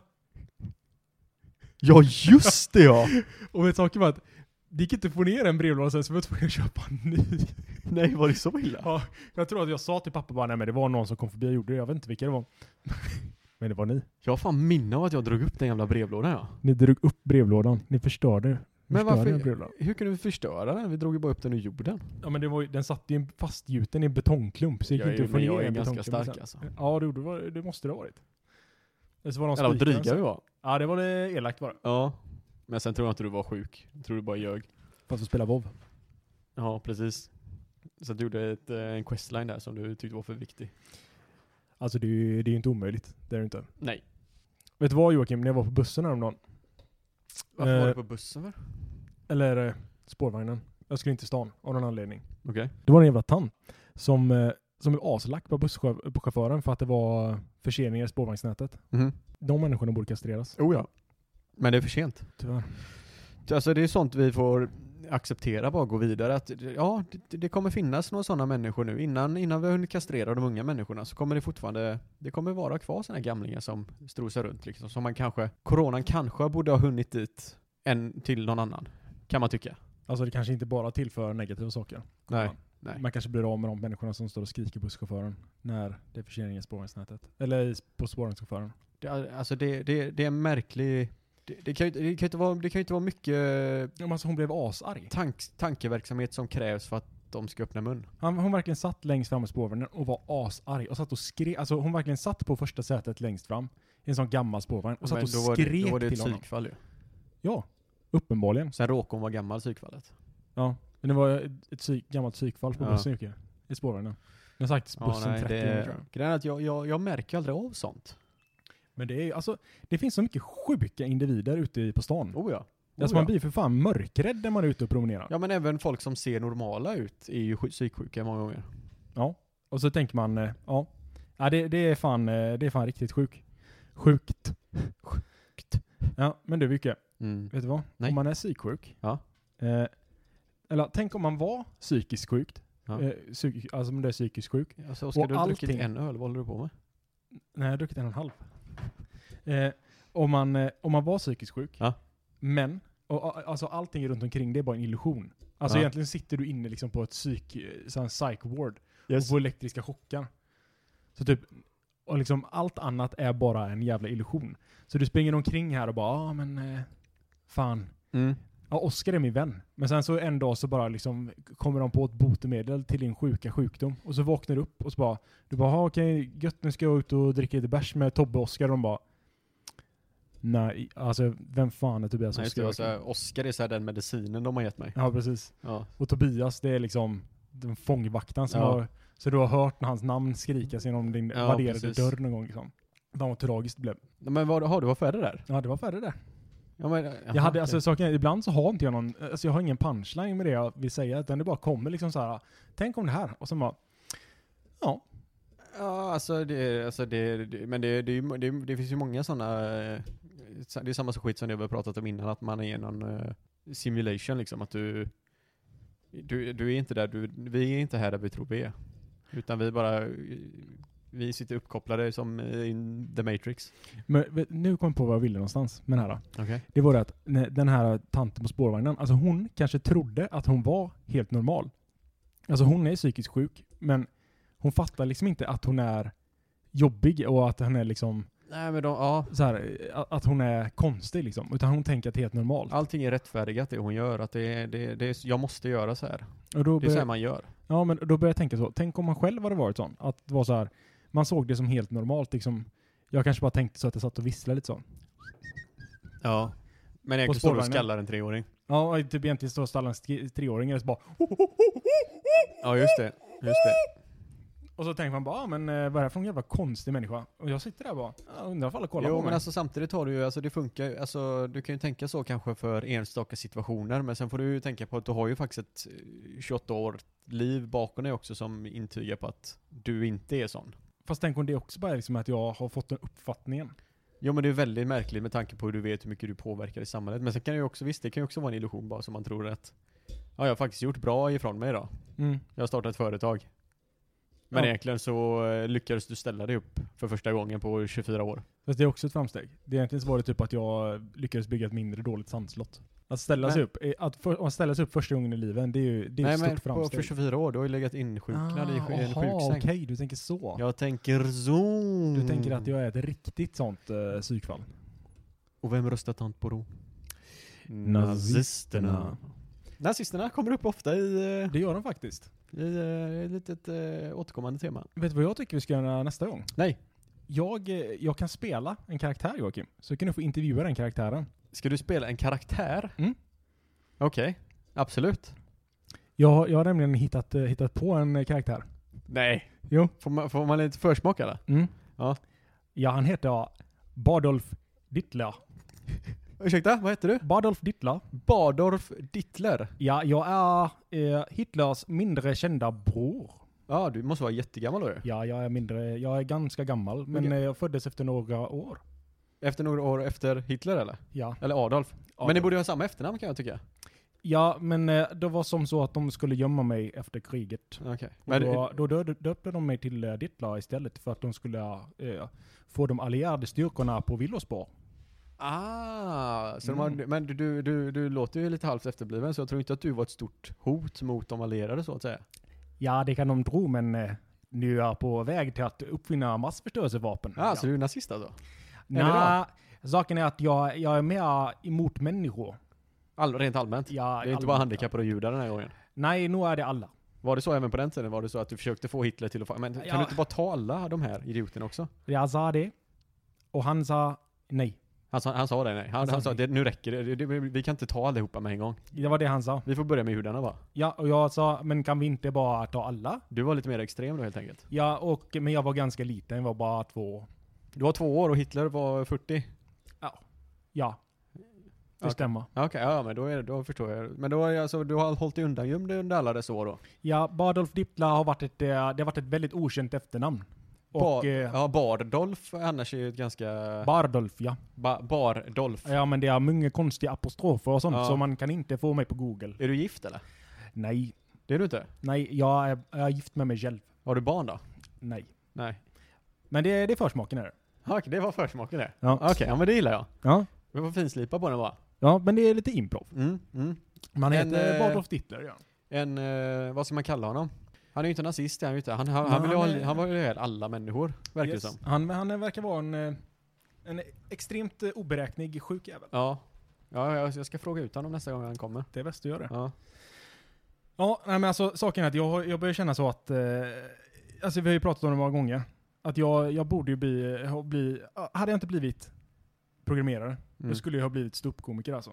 Speaker 3: Ja just det ja!
Speaker 1: Och vet saken var att det gick inte att få ner en brevlåda sen så vi var tvungna att köpa en ny.
Speaker 3: Nej var det så illa?
Speaker 1: Ja, jag tror att jag sa till pappa bara, nej men det var någon som kom förbi och gjorde det. Jag vet inte vilka det var. men det var ni.
Speaker 3: Jag har fan minne av att jag drog upp den jävla brevlådan ja.
Speaker 1: Ni drog upp brevlådan. Ni förstörde.
Speaker 3: Men
Speaker 1: förstörde
Speaker 3: varför-
Speaker 1: en brevlåda.
Speaker 3: Hur kunde vi förstöra den? Vi drog ju bara upp den ur jorden.
Speaker 1: Ja men det var, ju- den satt ju fastgjuten i en betongklump så det gick
Speaker 3: Jag är-
Speaker 1: inte att få
Speaker 3: men
Speaker 1: ner
Speaker 3: jag är
Speaker 1: en
Speaker 3: ganska
Speaker 1: betongklump
Speaker 3: stark,
Speaker 1: sen.
Speaker 3: alltså.
Speaker 1: Ja det, gjorde- det, var, det måste det ha varit. Eller så var de
Speaker 3: Eller vad
Speaker 1: spikade
Speaker 3: dryga
Speaker 1: den.
Speaker 3: vi var.
Speaker 1: Ja det var det elakt bara.
Speaker 3: Ja. Men sen tror jag inte du var sjuk. Jag tror du bara ljög.
Speaker 1: För att få spela WoW.
Speaker 3: Ja, precis. Så du gjorde ett, eh, en questline där som du tyckte var för viktig.
Speaker 1: Alltså det är ju det är ju inte omöjligt. Det är det inte.
Speaker 3: Nej.
Speaker 1: Vet du vad Joakim, när jag var på bussen häromdagen.
Speaker 3: Varför var
Speaker 1: Eh.
Speaker 3: du på bussen för?
Speaker 1: Eller eh, spårvagnen. Jag skulle inte till stan av någon anledning.
Speaker 3: Okej.
Speaker 1: Det var en jävla tant som, eh, som blev aslack på busschauffören för att det var förseningar i spårvagnsnätet.
Speaker 3: Mhm.
Speaker 1: De människorna borde kastreras.
Speaker 3: Oh ja. Men det är för sent.
Speaker 1: Tyvärr.
Speaker 3: Alltså det är sånt vi får acceptera, bara gå vidare. Att, ja, det, det kommer finnas några sådana människor nu. Innan, innan vi har hunnit kastrera de unga människorna så kommer det fortfarande, det kommer vara kvar sådana gamlingar som strosar runt liksom. Som man kanske, coronan kanske borde ha hunnit dit en till någon annan. Kan man tycka.
Speaker 1: Alltså det kanske inte bara tillför negativa saker.
Speaker 3: Nej.
Speaker 1: Man kanske blir av med de människorna som står och skriker på busschauffören när det är förseningar i spårvagnsnätet. Eller i- på spårvagnschauffören.
Speaker 3: Det, är- alltså det, det, det är en märklig... Det, det, kan ju, inte- det, kan ju inte vara, det kan ju inte vara mycket
Speaker 1: Ja, men Alltså hon blev asarg.
Speaker 3: tank, tankeverksamhet som krävs för att de ska öppna mun.
Speaker 1: Han, hon verkligen satt längst fram i spårvagnen och var asarg. Och satt och skrek. Alltså hon verkligen satt på första sätet längst fram. I en sån gammal spårvagn. Och satt
Speaker 3: Men
Speaker 1: och
Speaker 3: då var det-
Speaker 1: skrek
Speaker 3: Då var det ett
Speaker 1: till honom.
Speaker 3: psykfall ju.
Speaker 1: Ja, uppenbarligen.
Speaker 3: Sen råkade hon vara gammal psykfallet.
Speaker 1: Ja, men det var ett psyk, gammalt psykfall på
Speaker 3: Ja.
Speaker 1: bussen Jocke. I spårvagnen. Jag har sagt bussen 30 gånger tror jag.
Speaker 3: Grejen är att jag, jag, jag märker aldrig av sånt.
Speaker 1: Men det är ju, alltså, det finns så mycket sjuka individer ute i- på stan.
Speaker 3: Oh ja. Oh
Speaker 1: alltså
Speaker 3: ja.
Speaker 1: man blir för fan mörkrädd när man är ute och promenerar.
Speaker 3: ja men även folk som ser normala ut är ju sj- psyksjuka många gånger.
Speaker 1: Och så tänker man, eh, ja. ja det, det, är fan, eh, det är fan riktigt sjuk. Sjukt. Sjukt. Ja, men du Jocke,
Speaker 3: Mm.
Speaker 1: vet du vad?
Speaker 3: Nej.
Speaker 1: Om man är psyksjuk.
Speaker 3: Ja.
Speaker 1: Eh, eller tänk om man var psykiskt sjukt.
Speaker 3: Ja.
Speaker 1: Eh, psyk, alltså om du är psykiskt sjuk.
Speaker 3: Alltså Oskar,
Speaker 1: Och
Speaker 3: du har druckit
Speaker 1: allting-
Speaker 3: en öl, vad håller du på med?
Speaker 1: Nej, jag har druckit en och en halv. Eh, om, man, eh, om man var psykiskt sjuk,
Speaker 3: Ja.
Speaker 1: men och, a- alltså allting runt omkring det är bara en illusion. Alltså
Speaker 3: Ja.
Speaker 1: egentligen sitter du inne liksom på ett psyk, eh, sån här psych ward och
Speaker 3: Yes.
Speaker 1: får elektriska chockar. Så typ, och liksom allt annat är bara en jävla illusion. Så du springer omkring här och bara, ah, men eh, fan.
Speaker 3: Mm.
Speaker 1: Ja, Oskar är min vän. Men sen så en dag så bara liksom kommer de på ett botemedel till din sjuka sjukdom. Och så vaknar du upp och så bara, du bara, "Ha, okej, gött nu ska jag ut och dricka lite bärs med Tobbe och Oskar. Och de bara, nej, alltså vem fan är Tobias
Speaker 3: Nej, just det,
Speaker 1: Oskar?
Speaker 3: alltså, Oscar är så här den medicinen de har gett mig.
Speaker 1: ja, precis.
Speaker 3: Ja.
Speaker 1: Och Tobias, det är liksom den fångvaktaren som
Speaker 3: Ja.
Speaker 1: har, så du har hört när hans namn skrikas genom din
Speaker 3: Ja,
Speaker 1: vadderade
Speaker 3: precis.
Speaker 1: dörr någon gång liksom. Fan vad tragiskt det blev.
Speaker 3: Men vad har du? Varför är det där?
Speaker 1: Ja, det var färre där.
Speaker 3: Ja, men,
Speaker 1: Jag hade, alltså, saken, är, ibland så har inte jag någon, alltså jag har ingen punchline med det jag vill säga, utan det bara kommer liksom så här. tänk om det här, och sen bara, ja,
Speaker 3: Ja, alltså det, alltså det, det men det, det, är ju- det, det finns ju många sådana, eh, det är samma skit som det vi har pratat om innan, att man är i någon eh, simulation liksom, att du, du, du är inte där, du, vi är inte här där vi tror vi är. Utan vi bara, eh, vi sitter uppkopplade som in the matrix.
Speaker 1: men vet- nu kom jag på vad jag ville någonstans med den här.
Speaker 3: Okej.
Speaker 1: Det var det att när den här tanten på spårvagnen, alltså hon kanske trodde att hon var helt normal. Alltså hon är psykiskt sjuk, men hon fattar liksom inte att hon är jobbig och att hon är liksom
Speaker 3: Nej men de, ja,
Speaker 1: så här, eh, att hon är konstig liksom. Utan hon tänker att det är helt normalt.
Speaker 3: allting är rättfärdigat det hon gör, att det, det, det är, jag måste göra så här.
Speaker 1: Och då
Speaker 3: Det är så
Speaker 1: börjar-
Speaker 3: här man gör.
Speaker 1: Ja, men då började jag tänka så. Tänk om man själv hade varit sån. Att det var så här, man såg det som helt normalt. Liksom. Jag kanske bara tänkte så att jag satt och visslade lite så.
Speaker 3: Ja. Men
Speaker 1: På
Speaker 3: jag står du och
Speaker 1: spårvagnen.
Speaker 3: skallar en treåring.
Speaker 1: Ja, och typ egentligen står Stallans tre- treåring och så bara
Speaker 3: Ja just det, just det.
Speaker 1: Och så tänker man bara, ah, men eh, vad är det här för en jävla konstig människa? Och jag sitter där och bara, ah, undrar ifall alla kollar
Speaker 3: jo,
Speaker 1: på
Speaker 3: men
Speaker 1: mig.
Speaker 3: alltså samtidigt har du ju, alltså det funkar ju, alltså du kan ju tänka så kanske för enstaka situationer, men sen får du ju tänka på att du har ju faktiskt ett eh, 28 år liv bakom dig också som intygar på att du inte är sån.
Speaker 1: Fast tänk om det också bara är liksom att jag har fått den uppfattningen.
Speaker 3: Jo men det är väldigt märkligt med tanke på hur du vet hur mycket du påverkar i samhället, men sen kan det ju också, visst det kan ju också vara en illusion bara som man tror att, ja jag har faktiskt gjort bra ifrån mig idag. Jag har startat ett företag. Men
Speaker 1: Ja.
Speaker 3: egentligen så eh, lyckades du ställa dig upp för första gången på 24 år.
Speaker 1: Fast det är också ett framsteg. Det egentligen så var det typ att jag lyckades bygga ett mindre dåligt sandslott. Att ställa sig
Speaker 3: Men-
Speaker 1: upp, eh, att, för, att ställa sig upp första gången i livet, det är ju det är ju ett
Speaker 3: Nej men
Speaker 1: stort
Speaker 3: på,
Speaker 1: framsteg. Ah,
Speaker 3: för 24 år, du har ju legat insjuknad i sj- en
Speaker 1: aha,
Speaker 3: sjuksäng.
Speaker 1: okej, du tänker så.
Speaker 3: Jag tänker zoom.
Speaker 1: Du tänker att jag är ett riktigt sånt eh, psykfall.
Speaker 3: Och vem röstar tant Boro?
Speaker 1: Nazisterna.
Speaker 3: Nazisterna kommer upp ofta i, eh,
Speaker 1: Det gör de faktiskt.
Speaker 3: i eh, ett litet eh, återkommande tema.
Speaker 1: Vet du vad jag tycker vi ska göra nästa gång?
Speaker 3: Nej.
Speaker 1: Jag, eh, jag kan spela en karaktär Joakim, så kan du få intervjua den karaktären.
Speaker 3: Ska du spela en karaktär?
Speaker 1: Mm.
Speaker 3: Okej. Absolut.
Speaker 1: Jag, har- jag har nämligen hittat, eh, hittat på en eh, karaktär.
Speaker 3: Nej.
Speaker 1: Jo.
Speaker 3: Får man, får man lite försmak eller?
Speaker 1: Mm.
Speaker 3: Ja.
Speaker 1: Ja, han heter Badolf Dittler.
Speaker 3: Ursäkta, vad heter du?
Speaker 1: Badolf Dittler.
Speaker 3: Bardorf Dittler.
Speaker 1: Ja, jag är eh, Hitlers mindre kända bror.
Speaker 3: Ja, du måste vara jättegammal då ju.
Speaker 1: Ja, jag är mindre, jag är ganska gammal, men
Speaker 3: Okej.
Speaker 1: eh, jag föddes efter några år.
Speaker 3: Efter några år efter Hitler eller?
Speaker 1: Ja.
Speaker 3: Eller Adolf. Men ni
Speaker 1: Adolf.
Speaker 3: borde ha samma efternamn kan jag tycka.
Speaker 1: Ja, men eh, det var som så att de skulle gömma mig efter kriget.
Speaker 3: Okej.
Speaker 1: Och
Speaker 3: Men
Speaker 1: då då död, döpte de mig till eh, Dittla istället för att de skulle eh, få de allierade styrkorna på villospår.
Speaker 3: Ah, så
Speaker 1: Mm.
Speaker 3: de har, men du, du, du, du låter ju lite halvt efterbliven så jag tror inte att du var ett stort hot mot de allierade så att säga.
Speaker 1: Ja, det kan de tro, men eh, nu är jag på väg till att uppfinna massförstörelsevapen.
Speaker 3: Ah, så du är nazist alltså?
Speaker 1: Nja, saken är att jag, jag är mer emot människor.
Speaker 3: All, rent allmänt?
Speaker 1: Jag,
Speaker 3: det är inte bara handikappade och judar den här gången.
Speaker 1: Nej, nog är det alla.
Speaker 3: Var det så även på den tiden? Var det så att du försökte få Hitler till att fa- Men kan
Speaker 1: Ja.
Speaker 3: du inte bara ta alla de här idioterna också?
Speaker 1: Jag sa det, och han sa nej.
Speaker 3: Han sa, han sa det nej. Han, han sa det, nu räcker det. Det- det. Vi kan inte ta allihopa med en gång.
Speaker 1: Det var det han sa.
Speaker 3: Vi får börja med judarna bara.
Speaker 1: Ja, och jag sa, men kan vi inte bara ta alla?
Speaker 3: Du var lite mer extrem då helt enkelt.
Speaker 1: Ja, och, men jag var ganska liten, jag var bara två.
Speaker 3: Du var två år och Hitler var 40.
Speaker 1: Ja, det
Speaker 3: Okej.
Speaker 1: stämmer.
Speaker 3: Ja, Okej, ja men då, är, det- då förstår jag. Men då, är det alltså, du har hållit dig undangömd under alla dessa år då?
Speaker 1: Ja, Badolf Dippla har varit ett, eh, det har varit ett väldigt okänt efternamn. Och
Speaker 3: Bar,
Speaker 1: eh,
Speaker 3: ja, Bardolf annars är ju ett ganska...
Speaker 1: Bardolf, ja.
Speaker 3: Ba, Bardolf.
Speaker 1: Ja, men det är många konstiga apostrofer och sånt,
Speaker 3: Ja.
Speaker 1: så man kan inte få mig på Google.
Speaker 3: Är du gift eller?
Speaker 1: Nej,
Speaker 3: Det är du inte?
Speaker 1: nej, jag är, jag är gift med mig själv.
Speaker 3: Har du barn då?
Speaker 1: Nej.
Speaker 3: Nej.
Speaker 1: Men det, är- det är försmaken är det.
Speaker 3: Ja, okej, det var försmaken det.
Speaker 1: Ja.
Speaker 3: Okej, ja, men det gillar jag.
Speaker 1: Ja.
Speaker 3: Vi får finslipa på den bara.
Speaker 1: ja, men det är lite improv.
Speaker 3: Mm, mm.
Speaker 1: Man
Speaker 3: Men,
Speaker 1: heter
Speaker 3: eh,
Speaker 1: Adolf Hitler, ja.
Speaker 3: En, eh, vad ska man kalla honom? Han är ju inte nazist, det är han, ju inte. han, han,
Speaker 1: Nej,
Speaker 3: han, vill ju
Speaker 1: han
Speaker 3: ha,
Speaker 1: är-
Speaker 3: han vill ju ha ihjäl alla människor, verkar det
Speaker 1: Yes.
Speaker 3: som.
Speaker 1: Han, men han eh, verkar vara en, eh, en extremt eh, oberäknelig sjuk jävel.
Speaker 3: Ja. ja, jag- jag ska fråga ut honom nästa gång han kommer.
Speaker 1: Det är bäst att göra det.
Speaker 3: Ja.
Speaker 1: Ja, nej, men alltså saken är att jag, har- jag börjar känna så att, eh, alltså vi har ju pratat om det många gånger, att jag, jag borde ju bli, ha- bli, hade jag inte blivit programmerare,
Speaker 3: Mm.
Speaker 1: då skulle jag ha blivit ståuppkomiker alltså.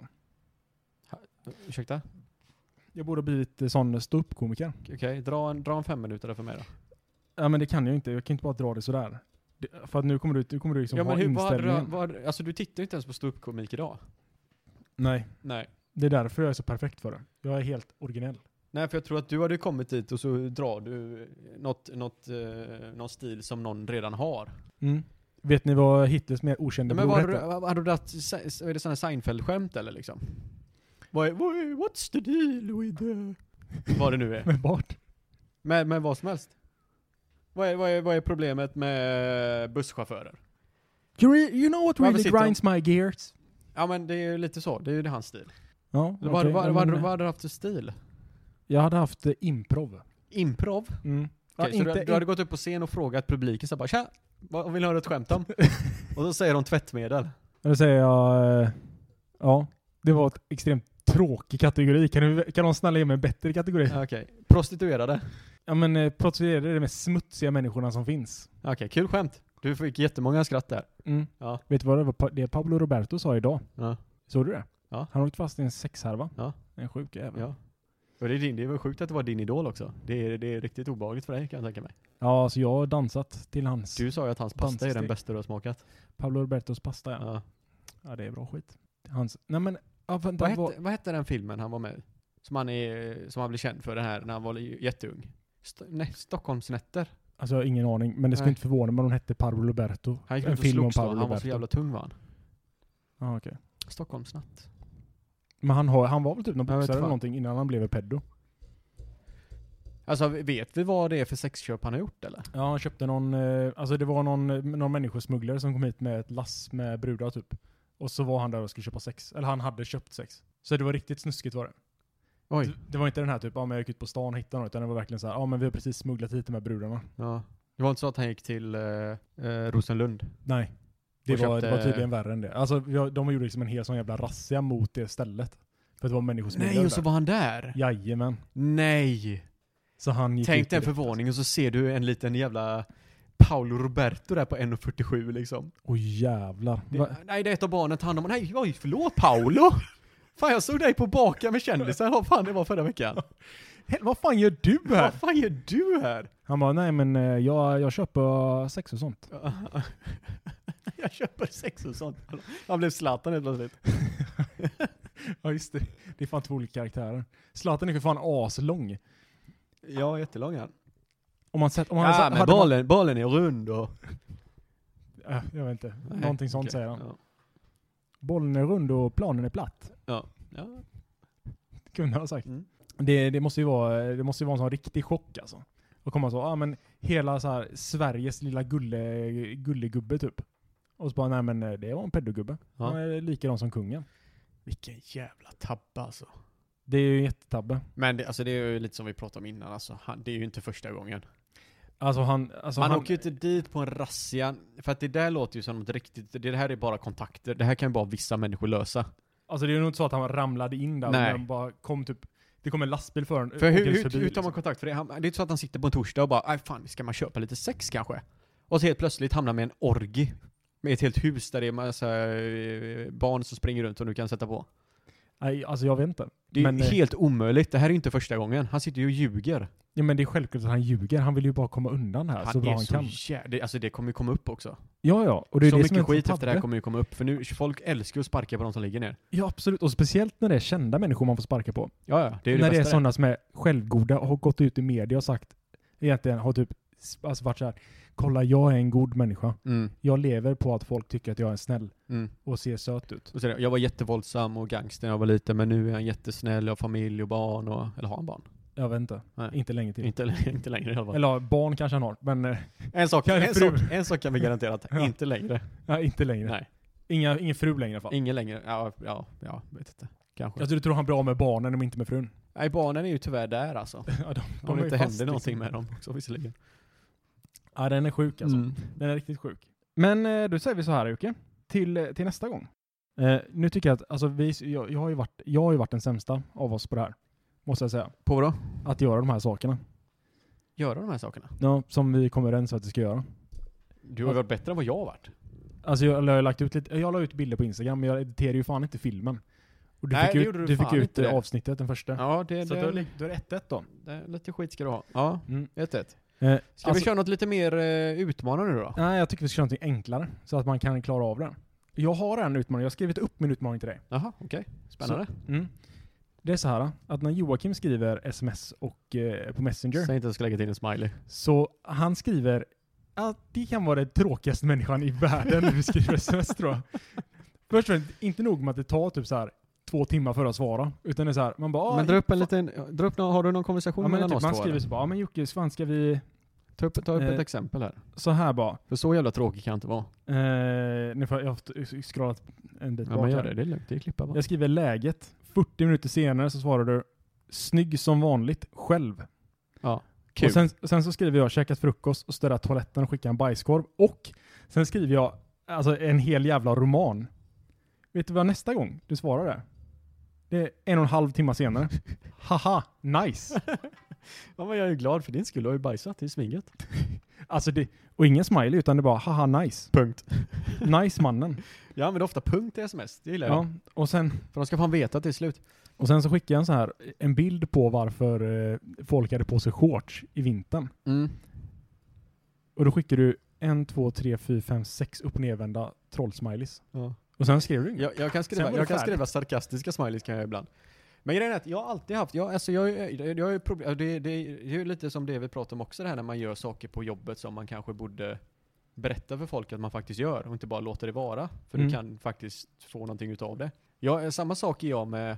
Speaker 3: Ursäkta?
Speaker 1: Jag borde ha blivit eh, sån ståuppkomiker.
Speaker 3: Okej, dra, en, dra en fem minuter där för mig då.
Speaker 1: Ja men det kan jag ju inte, jag kan inte bara dra det sådär. Det, för att nu kommer du, nu kommer du liksom
Speaker 3: ja, men
Speaker 1: ha
Speaker 3: hur, vad,
Speaker 1: inställningen.
Speaker 3: vad, vad, alltså du tittar ju inte ens på ståuppkomik idag.
Speaker 1: Nej,
Speaker 3: Nej.
Speaker 1: det är därför jag är så perfekt för det. Jag är helt originell.
Speaker 3: Nej, för jag tror att du hade kommit dit och så drar du något, något, eh, någon stil som någon redan har.
Speaker 1: Mm. Vet ni vad Hitlers mer okända
Speaker 3: Nej, men
Speaker 1: bror
Speaker 3: vad, hade
Speaker 1: hette?
Speaker 3: du- vad hade du dragit, se- är det sådana Seinfeld-skämt eller liksom? Vad är, vad är, what's the deal with the... Vad det nu är.
Speaker 1: Med Bart?
Speaker 3: Men, men vad som helst. Vad är, vad, är, vad är problemet med busschaufförer?
Speaker 1: You, re- you know what
Speaker 3: Varför
Speaker 1: really
Speaker 3: sitter de-
Speaker 1: grinds my gears?
Speaker 3: Ja men det är ju lite så, det är ju hans stil.
Speaker 1: Ja, okej,
Speaker 3: Vad- vad,
Speaker 1: ja,
Speaker 3: vad,
Speaker 1: men-
Speaker 3: vad hade du haft för stil?
Speaker 1: Jag hade haft eh, improv.
Speaker 3: Improv?
Speaker 1: Mm.
Speaker 3: Okej, så du,
Speaker 1: inte,
Speaker 3: du hade gått upp på scen och frågat publiken så bara Tja, vad vill ni höra ett skämt om? och då säger de tvättmedel.
Speaker 1: Då säger jag... eh, Ja, det var ett extremt tråkig kategori. Kan, du, kan någon snälla ge mig en bättre kategori? Ja,
Speaker 3: Ja, Okej, prostituerade.
Speaker 1: men eh, prostituerade är de mest smutsiga människorna som finns.
Speaker 3: Okej, kul skämt. Du fick jättemånga skratt där.
Speaker 1: Mm.
Speaker 3: Ja.
Speaker 1: Vet du vad det var pa- det Pablo Roberto sa idag?
Speaker 3: Ja.
Speaker 1: Såg du det?
Speaker 3: Ja.
Speaker 1: Han har åkt fast i en sexhärva.
Speaker 3: Ja.
Speaker 1: En sjuk jävel.
Speaker 3: ja. Och det är din, det var sjukt att det var din idol också. Det är, det är riktigt obehagligt för dig kan jag tänka mig.
Speaker 1: Ja, så jag har dansat till hans
Speaker 3: Du sa ju att hans pasta är den
Speaker 1: Danssteg.
Speaker 3: bästa du har smakat.
Speaker 1: Pablo Robertos pasta. Ja.
Speaker 3: Ja.
Speaker 1: ja, det är bra skit. Hans... Nej men... Ja, vänta,
Speaker 3: Vad,
Speaker 1: vad-
Speaker 3: hette, vad hette den filmen han var med i? Som han, är, som han blev känd för den här när han var li- jätteung. St- nej, Stockholmsnätter.
Speaker 1: Alltså jag har ingen aning, men det skulle
Speaker 3: Nej.
Speaker 1: inte förvåna mig om hon hette Pablo Roberto.
Speaker 3: Han gick
Speaker 1: en
Speaker 3: runt och
Speaker 1: film om
Speaker 3: slogs då.
Speaker 1: Pablo
Speaker 3: Han var
Speaker 1: Roberto.
Speaker 3: så jävla tung var han.
Speaker 1: Ja, okej.
Speaker 3: Stockholmsnatt.
Speaker 1: Men han, har, han var väl typ någon
Speaker 3: Jag vet
Speaker 1: boxare eller
Speaker 3: fan.
Speaker 1: någonting innan han blev peddo?
Speaker 3: Alltså vet vi vad det är för sexköp han har gjort eller?
Speaker 1: Ja, han köpte någon, eh, alltså det var någon, eh, någon människosmugglare som kom hit med ett lass med brudar typ. Och så var han där och skulle köpa sex. Eller han hade köpt sex. Så det var riktigt snuskigt var det.
Speaker 3: Oj.
Speaker 1: Det, det var inte den här typ, ja men jag gick ut på stan och hittade något, utan det var verkligen så här, ja men vi har precis smugglat hit de här brudarna.
Speaker 3: Ja. Det var inte så att han gick till eh, eh, Rosenlund?
Speaker 1: Nej. Det
Speaker 3: Och
Speaker 1: var, det var
Speaker 3: köpte-
Speaker 1: tydligen värre än det. Alltså vi har- de gjorde liksom en hel sån jävla razzia mot det stället. För att det var människosmugglare
Speaker 3: Nej, och så
Speaker 1: där.
Speaker 3: var han där!
Speaker 1: Jajamän.
Speaker 3: Nej!
Speaker 1: Så han gick
Speaker 3: Tänk
Speaker 1: ut
Speaker 3: dig en
Speaker 1: direkt.
Speaker 3: förvåning och så ser du en liten jävla Paolo Roberto där på 1,47 liksom.
Speaker 1: Oj jävlar. Va?
Speaker 3: Det, nej, det är ett av barnen tar hand om Nej, oj, förlåt Paolo! fan, jag såg dig på Baka med kändisar. Vad fan det var förra veckan.
Speaker 1: Hel- Vad fan gör du här?
Speaker 3: Vad fan gör du här?
Speaker 1: Han bara, nej men eh, jag, jag köper eh, sex och sånt.
Speaker 3: jag köper sex och sånt. Han blev Zlatan helt plötsligt.
Speaker 1: Ja just det. Det är fan två olika karaktärer. Zlatan är för fan aslång.
Speaker 3: Ja, jättelång han.
Speaker 1: Om man sett, om han
Speaker 3: Ja,
Speaker 1: hade-
Speaker 3: men
Speaker 1: hade man-
Speaker 3: bollen, bollen är rund och...
Speaker 1: Äh, jag vet inte. Någonting sånt
Speaker 3: Okej,
Speaker 1: säger han.
Speaker 3: Ja.
Speaker 1: Bollen är rund och planen är platt.
Speaker 3: Ja.
Speaker 1: Kunde han ha sagt.
Speaker 3: Mm.
Speaker 1: Det, det, måste ju vara, eh, det måste ju vara en sån riktig chock alltså. Och komma så, ja ah, men hela så här Sveriges lilla gulle, gullegubbe typ. Och så bara, nej men eh, det var en pedogubbe.
Speaker 3: Ja.
Speaker 1: Han är likadan som kungen.
Speaker 3: Vilken jävla tabbe alltså.
Speaker 1: Det är ju en jättetabbe.
Speaker 3: Men det, alltså, det är ju lite som vi pratade om innan alltså. Han, det är ju inte första gången.
Speaker 1: Alltså han... Alltså
Speaker 3: man
Speaker 1: han,
Speaker 3: åker ju inte dit på en razzia, för att det där låter ju som något riktigt, det här är bara kontakter, det här kan ju bara vissa människor lösa.
Speaker 1: Alltså det är ju nog inte så att han ramlade in där,
Speaker 3: Nej.
Speaker 1: men bara kom typ, det kom en lastbil för honom.
Speaker 3: För hur,
Speaker 1: åkte
Speaker 3: hur,
Speaker 1: förbi,
Speaker 3: hur tar man
Speaker 1: liksom.
Speaker 3: kontakt? För det, han, det är inte så att han sitter på en torsdag och bara "Aj, fan, ska man köpa lite sex kanske?” Och så helt plötsligt hamnar med en orgi. Med ett helt hus där det är massa eh, barn som springer runt och du kan sätta på.
Speaker 1: Nej, alltså jag vet inte.
Speaker 3: Det är
Speaker 1: Men,
Speaker 3: ju
Speaker 1: eh,
Speaker 3: helt omöjligt, det här är ju inte första gången. Han sitter ju och ljuger.
Speaker 1: Ja, men det är självklart att han ljuger, han vill ju bara komma undan här så
Speaker 3: Han
Speaker 1: bra
Speaker 3: är
Speaker 1: han
Speaker 3: så
Speaker 1: kan.
Speaker 3: jä- det, Alltså det kommer ju komma upp också.
Speaker 1: Ja, ja. Och det är
Speaker 3: så
Speaker 1: det som är
Speaker 3: mycket
Speaker 1: så
Speaker 3: skit efter det här
Speaker 1: tabbe.
Speaker 3: kommer ju komma upp, för nu, folk älskar ju att sparka på de som ligger ner.
Speaker 1: Ja, absolut. Och speciellt när det är kända människor man får sparka på.
Speaker 3: Ja, ja. Det är ju
Speaker 1: när
Speaker 3: det
Speaker 1: det är
Speaker 3: bästa.
Speaker 1: sådana som är självgoda och har gått ut i media och sagt, egentligen har typ s- alltså varit så här, kolla jag är en god människa.
Speaker 3: Mm,
Speaker 1: Jag lever på att folk tycker att jag är snäll
Speaker 3: mm.
Speaker 1: och ser söt ut.
Speaker 3: Och så är det, jag var jättevåldsam och gangster när jag var liten men nu är han jättesnäll och har familj och barn och, eller har han barn?
Speaker 1: Jag vet inte.
Speaker 3: Nej.
Speaker 1: Inte länge till.
Speaker 3: Inte, inte längre i alla fall.
Speaker 1: Eller ja, barn kanske han har, men eh,
Speaker 3: En sak,
Speaker 1: Kanske
Speaker 3: en
Speaker 1: fru.
Speaker 3: sak, en sak kan vi garantera, att
Speaker 1: Ja.
Speaker 3: inte längre.
Speaker 1: ja, inte längre.
Speaker 3: Nej.
Speaker 1: Inga, ingen fru längre i alla fall.
Speaker 3: Ingen längre. Ja, ja, ja, vet inte. Kanske.
Speaker 1: Jag tror, tror han blir av med barnen men inte med frun.
Speaker 3: Nej, barnen är ju tyvärr där alltså.
Speaker 1: ja, de, de
Speaker 3: Om
Speaker 1: är
Speaker 3: det inte
Speaker 1: fast,
Speaker 3: händer någonting
Speaker 1: liksom.
Speaker 3: med dem också visserligen.
Speaker 1: Ja, den är sjuk alltså.
Speaker 3: Mm.
Speaker 1: Den är riktigt sjuk. Men eh, då säger vi så här Jocke, till, eh, till nästa gång. Eh, nu tycker jag att, alltså vi, jag, jag, har ju varit, jag har ju varit den sämsta av oss på det här. Måste jag säga.
Speaker 3: På då?
Speaker 1: Att göra de här sakerna.
Speaker 3: Göra de här sakerna.
Speaker 1: Ja, som vi kommer överens om att vi ska göra.
Speaker 3: Du har ju varit bättre än vad jag har varit.
Speaker 1: Alltså jag, la- jag har lagt ut lite, jag la ut bilder på Instagram men jag editerade ju fan inte filmen. Och du
Speaker 3: Nej,
Speaker 1: fick
Speaker 3: det
Speaker 1: ut,
Speaker 3: gjorde du
Speaker 1: du fick
Speaker 3: fan
Speaker 1: ut
Speaker 3: inte
Speaker 1: eh,
Speaker 3: det.
Speaker 1: avsnittet, den första.
Speaker 3: Ja, det,
Speaker 1: Så
Speaker 3: det,
Speaker 1: då är det- då är det 1-1 då.
Speaker 3: det- lite skit ska du ha. Ja,
Speaker 1: Mm.
Speaker 3: 1-1.
Speaker 1: Eh,
Speaker 3: Ska vi köra något lite mer eh, utmanande nu då?
Speaker 1: Nej, jag tycker vi ska köra någonting enklare så att man kan klara av den. Jag har en utmaning, jag har skrivit upp min utmaning till dig.
Speaker 3: Jaha, okej. Spännande.
Speaker 1: Mm. Det är så här att när Joakim skriver sms och, eh, på Messenger
Speaker 3: Säg inte att jag ska lägga till en smiley.
Speaker 1: så han skriver att det kan vara den tråkigaste människan i världen när du skriver sms tror jag. Först och främst, inte nog med att det tar typ så här två timmar för att svara, utan det är så här, man bara... "Ah,
Speaker 3: Men dra upp
Speaker 1: fan."
Speaker 3: en liten, dra upp, nå- har du någon konversation
Speaker 1: Ja, men
Speaker 3: mellan
Speaker 1: typ,
Speaker 3: oss två?
Speaker 1: man skriver
Speaker 3: eller?
Speaker 1: så bara, "Ja, men Jocke, fan ska vi...
Speaker 3: Ta upp, ta upp ett
Speaker 1: Eh.
Speaker 3: exempel här.
Speaker 1: Så här bara.
Speaker 3: För så jävla tråkig kan jag inte vara.
Speaker 1: Eh, nu får jag, jag har scrollat en bit
Speaker 3: Ja
Speaker 1: bak
Speaker 3: men
Speaker 1: här.
Speaker 3: gör det, det är lugnt. Det är klippa bara.
Speaker 1: Jag skriver läget. 40 minuter senare så svarar du snygg som vanligt själv.
Speaker 3: Ja.
Speaker 1: Och
Speaker 3: Kul.
Speaker 1: sen, sen så skriver jag käkat frukost och städat toaletten och skickat en bajskorv. Och sen skriver jag alltså en hel jävla roman. Vet du vad nästa gång du svarar det? Det är en och en halv timme senare. Haha, nice!
Speaker 3: Ja men jag är ju glad för din skull, du har ju bajsat, det är svinget.
Speaker 1: Alltså det, och ingen smiley utan det är bara haha nice.
Speaker 3: Punkt.
Speaker 1: Nice mannen.
Speaker 3: Jag använder ofta punkt i sms, det gillar jag.
Speaker 1: Ja, och, sen,
Speaker 3: För de ska fan veta att det är slut.
Speaker 1: och sen så skickar jag en, så här, en bild på varför eh, folk hade på sig shorts i vintern. Och då skickar du en, två, tre, fyra, fem, sex upp och nervända trollsmileys.
Speaker 3: Ja.
Speaker 1: Och sen skrev du inget.
Speaker 3: Jag, jag kan,
Speaker 1: var
Speaker 3: skriva,
Speaker 1: det
Speaker 3: jag kan
Speaker 1: färdigt.
Speaker 3: skriva sarkastiska smileys kan jag ibland. Men grejen är att jag har alltid haft, jag, alltså jag, jag, jag har ju problem, det, det, det är ju lite som det vi pratar om också det här när man gör saker på jobbet som man kanske borde berätta för folk att man faktiskt gör och inte bara låta det vara. För
Speaker 1: Mm.
Speaker 3: du kan faktiskt få någonting utav det. Jag, samma sak är jag med,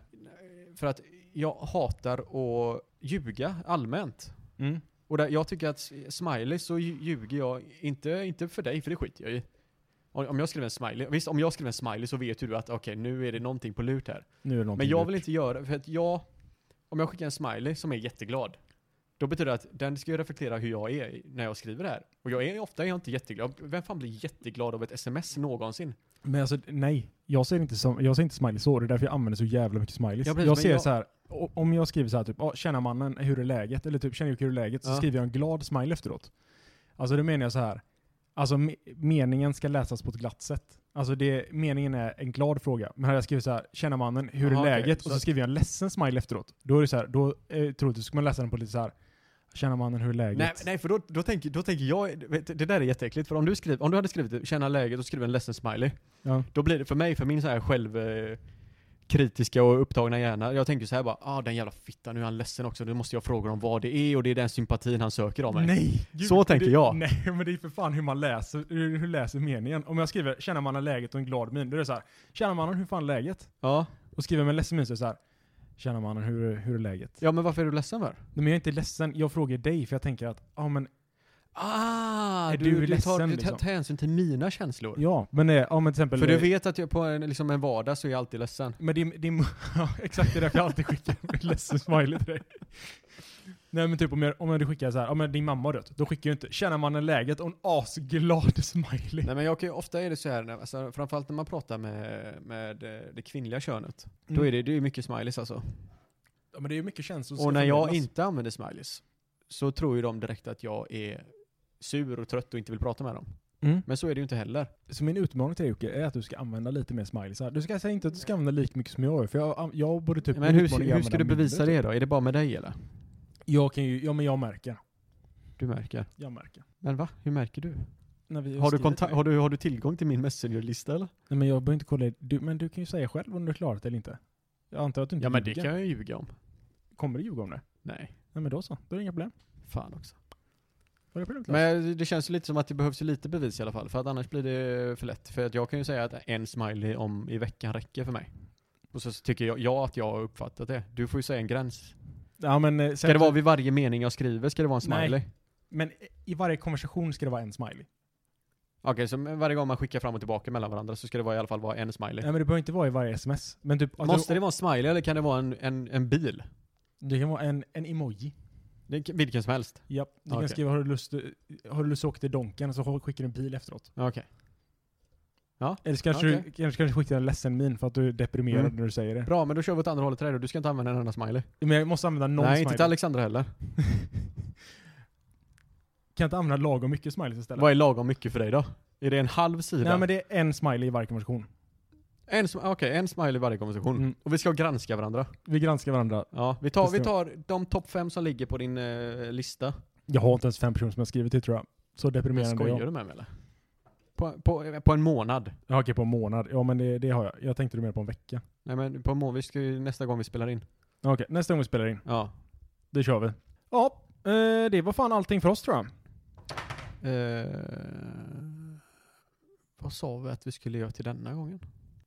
Speaker 3: för att jag hatar att ljuga allmänt.
Speaker 1: Mm.
Speaker 3: Och där, jag tycker att smiley så lju- ljuger jag, inte, inte för dig, för det skiter jag i. Om om jag skriver en smiley, visst om jag skriver en smiley så vet ju du att okej nu är det någonting på lurt här.
Speaker 1: Nu är det
Speaker 3: Men
Speaker 1: någonting
Speaker 3: jag
Speaker 1: du-
Speaker 3: vill inte göra, för att jag, om jag skickar en smiley som är jätteglad, då betyder det att den ska ju reflektera hur jag är när jag skriver det här. Och jag är ofta är jag inte jätteglad. Vem fan blir jätteglad av ett sms någonsin?
Speaker 1: Men alltså nej, jag ser inte, som, jag ser inte smiley så. Det är därför jag använder så jävla mycket smileys.
Speaker 3: Ja, precis,
Speaker 1: jag
Speaker 3: men
Speaker 1: ser
Speaker 3: jag-
Speaker 1: så här, o- om jag skriver så här typ, "Ah, tjena mannen, hur är läget? Eller typ, tjena Jocke, hur är läget? Så
Speaker 3: Ja.
Speaker 1: skriver jag en glad smiley efteråt. Alltså då menar jag så här, alltså me- meningen ska läsas på ett glatt sätt. Alltså det, meningen är en glad fråga. Men hade jag skrivit så här, tjena mannen, hur
Speaker 3: Jaha,
Speaker 1: är
Speaker 3: okej.
Speaker 1: läget? Och så,
Speaker 3: Så-
Speaker 1: skriver jag en ledsen smiley efteråt. Då är det så här, då eh, troligtvis ska man läsa den på lite så här, tjena mannen, hur är läget?
Speaker 3: Nej, nej för då, då, tänker, då tänker jag, vet du, det där är jätteäckligt. För om du, skriver, om du hade skrivit känna läget och skrivit en ledsen smiley,
Speaker 1: Ja.
Speaker 3: Då blir det för mig, för min så här själv eh, kritiska och upptagna hjärna. Jag tänker så här bara, ah den jävla fittan, nu är han ledsen också. Nu måste jag fråga om vad det är och det är den sympatin han söker av mig.
Speaker 1: Nej!
Speaker 3: Så tänker
Speaker 1: det,
Speaker 3: jag.
Speaker 1: Nej, men det är för fan hur man läser, hur, hur läser meningen. Om jag skriver “Tjena mannen, läget” och en glad min, då är det så här “Tjena mannen, hur fan är läget?”
Speaker 3: Ja.
Speaker 1: och skriver med en ledsen min så är det så här “Tjena mannen, hur, hur är läget?”
Speaker 3: ja, men varför är du ledsen för?
Speaker 1: Nej, men jag är inte ledsen, jag frågar dig för jag tänker att ja men
Speaker 3: Ah,
Speaker 1: Är
Speaker 3: du,
Speaker 1: du
Speaker 3: du,
Speaker 1: ledsen,
Speaker 3: tar, du tar
Speaker 1: liksom?
Speaker 3: hänsyn till mina känslor.
Speaker 1: ja, men det, ja men till exempel eh,
Speaker 3: för du vet att jag på en, liksom en vardag så är jag alltid ledsen.
Speaker 1: Men det, är- det är- ja, exakt det är därför jag alltid skickar en ledsen smiley till dig. Nej men typ om jag, om jag skickar så här, ja men din mamma har dött, då skickar jag inte “Tjena mannen, läget?” och en asglad smiley.
Speaker 3: Nej men jag kan ju, ofta är det så här, när- alltså, framförallt när man pratar med, med eh, det kvinnliga könet.
Speaker 1: Mm.
Speaker 3: Då är det, det är mycket smileys alltså.
Speaker 1: ja, men det är mycket känslor som
Speaker 3: Och
Speaker 1: ska
Speaker 3: när jag
Speaker 1: förmedlas.
Speaker 3: inte använder smileys så tror ju de direkt att jag är sur och trött och inte vill prata med dem.
Speaker 1: Mm.
Speaker 3: Men så är det ju inte heller.
Speaker 1: Så min utmaning till dig Jocke är att du ska använda lite mer smileysar. Du ska säga inte att du ska använda lika mycket som jag gör, för jag, jag borde typ...
Speaker 3: men hur,
Speaker 1: utmaning är
Speaker 3: hur
Speaker 1: att
Speaker 3: ska du
Speaker 1: använda
Speaker 3: bevisa
Speaker 1: mindre,
Speaker 3: det då? Är det bara med dig eller?
Speaker 1: typ. Jag kan ju, ja men jag märker.
Speaker 3: Du märker.
Speaker 1: Jag märker.
Speaker 3: Men va? Hur märker du?
Speaker 1: När vi
Speaker 3: Har du,
Speaker 1: skriver
Speaker 3: konta-
Speaker 1: till
Speaker 3: har, du, har du tillgång till min messengerlista eller?
Speaker 1: dig. Nej men jag behöver inte kolla, du, men du kan ju säga själv om du har klarat det eller inte. Jag antar att du inte
Speaker 3: Ja men det
Speaker 1: ljuger.
Speaker 3: kan jag ju ljuga om.
Speaker 1: Kommer du ljuga om det?
Speaker 3: Nej.
Speaker 1: Nej men då så, då är det inga problem.
Speaker 3: Fan också.
Speaker 1: Var det alltså. problem Claes?
Speaker 3: Men det känns ju lite som att det behövs ju lite bevis i alla fall. För att annars blir det för lätt. För att jag kan ju säga att en smiley om i veckan räcker för mig. Och så tycker jag, jag att jag har uppfattat det. Du får ju säga en gräns.
Speaker 1: Ja, men, eh, sen-
Speaker 3: Ska det vara vid varje mening jag skriver, ska det vara en
Speaker 1: Nej.
Speaker 3: smiley?
Speaker 1: men eh, i varje konversation ska det vara en smiley.
Speaker 3: Okej, så varje gång man skickar fram och tillbaka mellan varandra så ska det vara, i alla fall vara en smiley.
Speaker 1: Nej men det behöver inte vara i varje sms. Men typ, alltså,
Speaker 3: Måste det vara en smiley eller kan det vara en, en, en bil?
Speaker 1: det kan vara en, en emoji.
Speaker 3: Det, kan- vilken som helst.
Speaker 1: Ja, du
Speaker 3: Okej.
Speaker 1: kan skriva har du lust, eh, har du lust att åka till Donken och så skickar du en bil efteråt.
Speaker 3: Okej.
Speaker 1: Eller så kanske du
Speaker 3: Okej.
Speaker 1: kanske, kanske skickar en ledsen min för att du är deprimerad
Speaker 3: Mm.
Speaker 1: när du säger det.
Speaker 3: Bra, men då kör vi åt andra hållet till dig då. Du ska inte använda en enda smiley.
Speaker 1: Men jag måste använda någon
Speaker 3: Nej,
Speaker 1: smiley.
Speaker 3: inte till Alexandra heller.
Speaker 1: Kan jag inte använda lagom mycket smileys istället?
Speaker 3: Vad är lagom mycket för dig då? Är det en halv sida?
Speaker 1: Nej men det är en smiley i varje konversation.
Speaker 3: En, sm- okej, en smiley i varje konversation.
Speaker 1: Mm.
Speaker 3: Och vi ska granska varandra.
Speaker 1: Vi granskar varandra.
Speaker 3: Ja, vi tar,
Speaker 1: Just
Speaker 3: vi
Speaker 1: det.
Speaker 3: tar de topp fem som ligger på din eh, lista.
Speaker 1: Jag har inte ens fem personer som jag skrivit till tror jag. Så deprimerande är
Speaker 3: Skojar
Speaker 1: jag.
Speaker 3: du med mig eller? På, på, på en månad?
Speaker 1: Ja, okej, på en månad. Ja men det, det har jag. Jag tänkte mer på en vecka.
Speaker 3: Nej men på en månad, vi ska ju, nästa gång vi spelar in.
Speaker 1: Okej, nästa gång vi spelar in.
Speaker 3: Ja.
Speaker 1: Det kör vi. Ja, eh, det var fan allting för oss tror jag.
Speaker 3: Eh, vad sa vi att vi skulle göra till denna gången?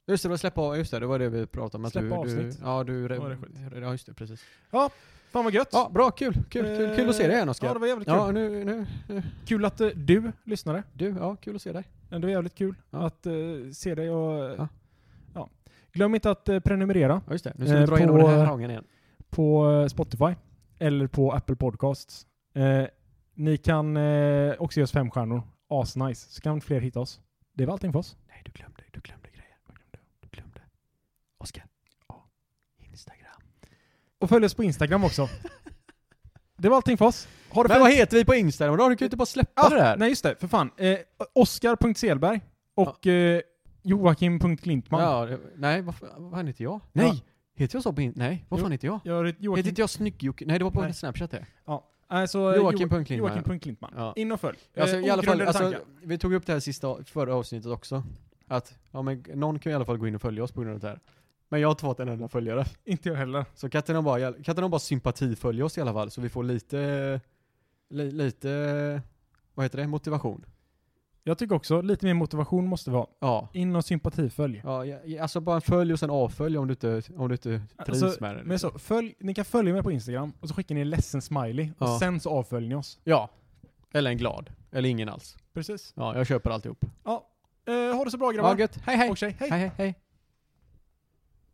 Speaker 3: Just det, det var släppa, just det, det var det vi pratade om. att
Speaker 1: Släppa
Speaker 3: du,
Speaker 1: avsnitt.
Speaker 3: Du, ja, du...
Speaker 1: var det skit.
Speaker 3: ja, just det, precis.
Speaker 1: Fan vad gött!
Speaker 3: Ja, bra, kul, kul, kul, kul att se dig igen
Speaker 1: Ja, det
Speaker 3: Oskar.
Speaker 1: var jävligt kul.
Speaker 3: Ja, nu, nu, nu,
Speaker 1: Kul att eh, du lyssnade.
Speaker 3: du, ja, kul att se dig.
Speaker 1: Ändå jävligt kul
Speaker 3: Ja.
Speaker 1: att eh, se dig och... eh,
Speaker 3: Ja.
Speaker 1: Ja. Glöm inte att eh, prenumerera
Speaker 3: Ja, just det, nu ska vi
Speaker 1: Eh,
Speaker 3: dra igenom den här
Speaker 1: på-
Speaker 3: hagen igen.
Speaker 1: på eh, Spotify eller på Apple Podcasts. Eh, ni kan eh, också ge oss fem stjärnor. Asnice. Så kan fler hitta oss. Det var allting för oss.
Speaker 3: Nej, du glömde, du glömde grejer. Vad glömde du? Du glömde. Oskar. Ja. Instagram.
Speaker 1: Och följ oss på Instagram också. det var allting för oss. Ha det
Speaker 3: Men
Speaker 1: fint.
Speaker 3: vad heter vi på Instagram då? Du kan ju inte bara släppa det
Speaker 1: ah,
Speaker 3: där.
Speaker 1: Nej just det, för fan. Eh, Oskar.selberg och eh, Joakim.Klintman.
Speaker 3: Ja, det- nej, vad, fan- vad fan heter jag? Nej! Heter jag så på in- Nej, vad
Speaker 1: Jo.
Speaker 3: fan heter jag?
Speaker 1: Jag har
Speaker 3: Heter
Speaker 1: Joakim...
Speaker 3: inte jag snygg Nej, det var på
Speaker 1: Nej.
Speaker 3: Snapchat det.
Speaker 1: Ja. Alltså,
Speaker 3: Joakim punkt Klintman,
Speaker 1: Joakim punkt Klintman.
Speaker 3: Ja.
Speaker 1: In och följ.
Speaker 3: Alltså,
Speaker 1: Eh,
Speaker 3: i alla fall,
Speaker 1: ogrundade
Speaker 3: alltså,
Speaker 1: tankar.
Speaker 3: vi tog upp det här sista, förra avsnittet också. Att, ja men någon kan ju i alla fall gå in och följa oss på grund av det här. Men jag har inte fått en enda följare.
Speaker 1: Inte jag heller.
Speaker 3: Så kan inte någon bara, kan inte någon bara sympatifölja oss i alla fall? Så vi får lite, li, lite, vad heter det, motivation.
Speaker 1: Jag tycker också lite mer motivation måste vara.
Speaker 3: Ja.
Speaker 1: In och sympatifölj.
Speaker 3: Ja, ja, ja, alltså bara följ och sen avfölj om du inte, om du inte trivs
Speaker 1: Alltså,
Speaker 3: med det.
Speaker 1: Men så, följ, ni kan följa mig på Instagram och så skickar ni en ledsen smiley och
Speaker 3: Ja.
Speaker 1: sen så avföljer ni oss.
Speaker 3: Ja. Eller en glad. Eller ingen alls.
Speaker 1: Precis.
Speaker 3: Ja, jag köper alltihop.
Speaker 1: Ja. Eh, ha det så bra grabbar.
Speaker 3: Ja, gött. Hej hej.
Speaker 1: och tjej, hej.
Speaker 3: Hej hej hej.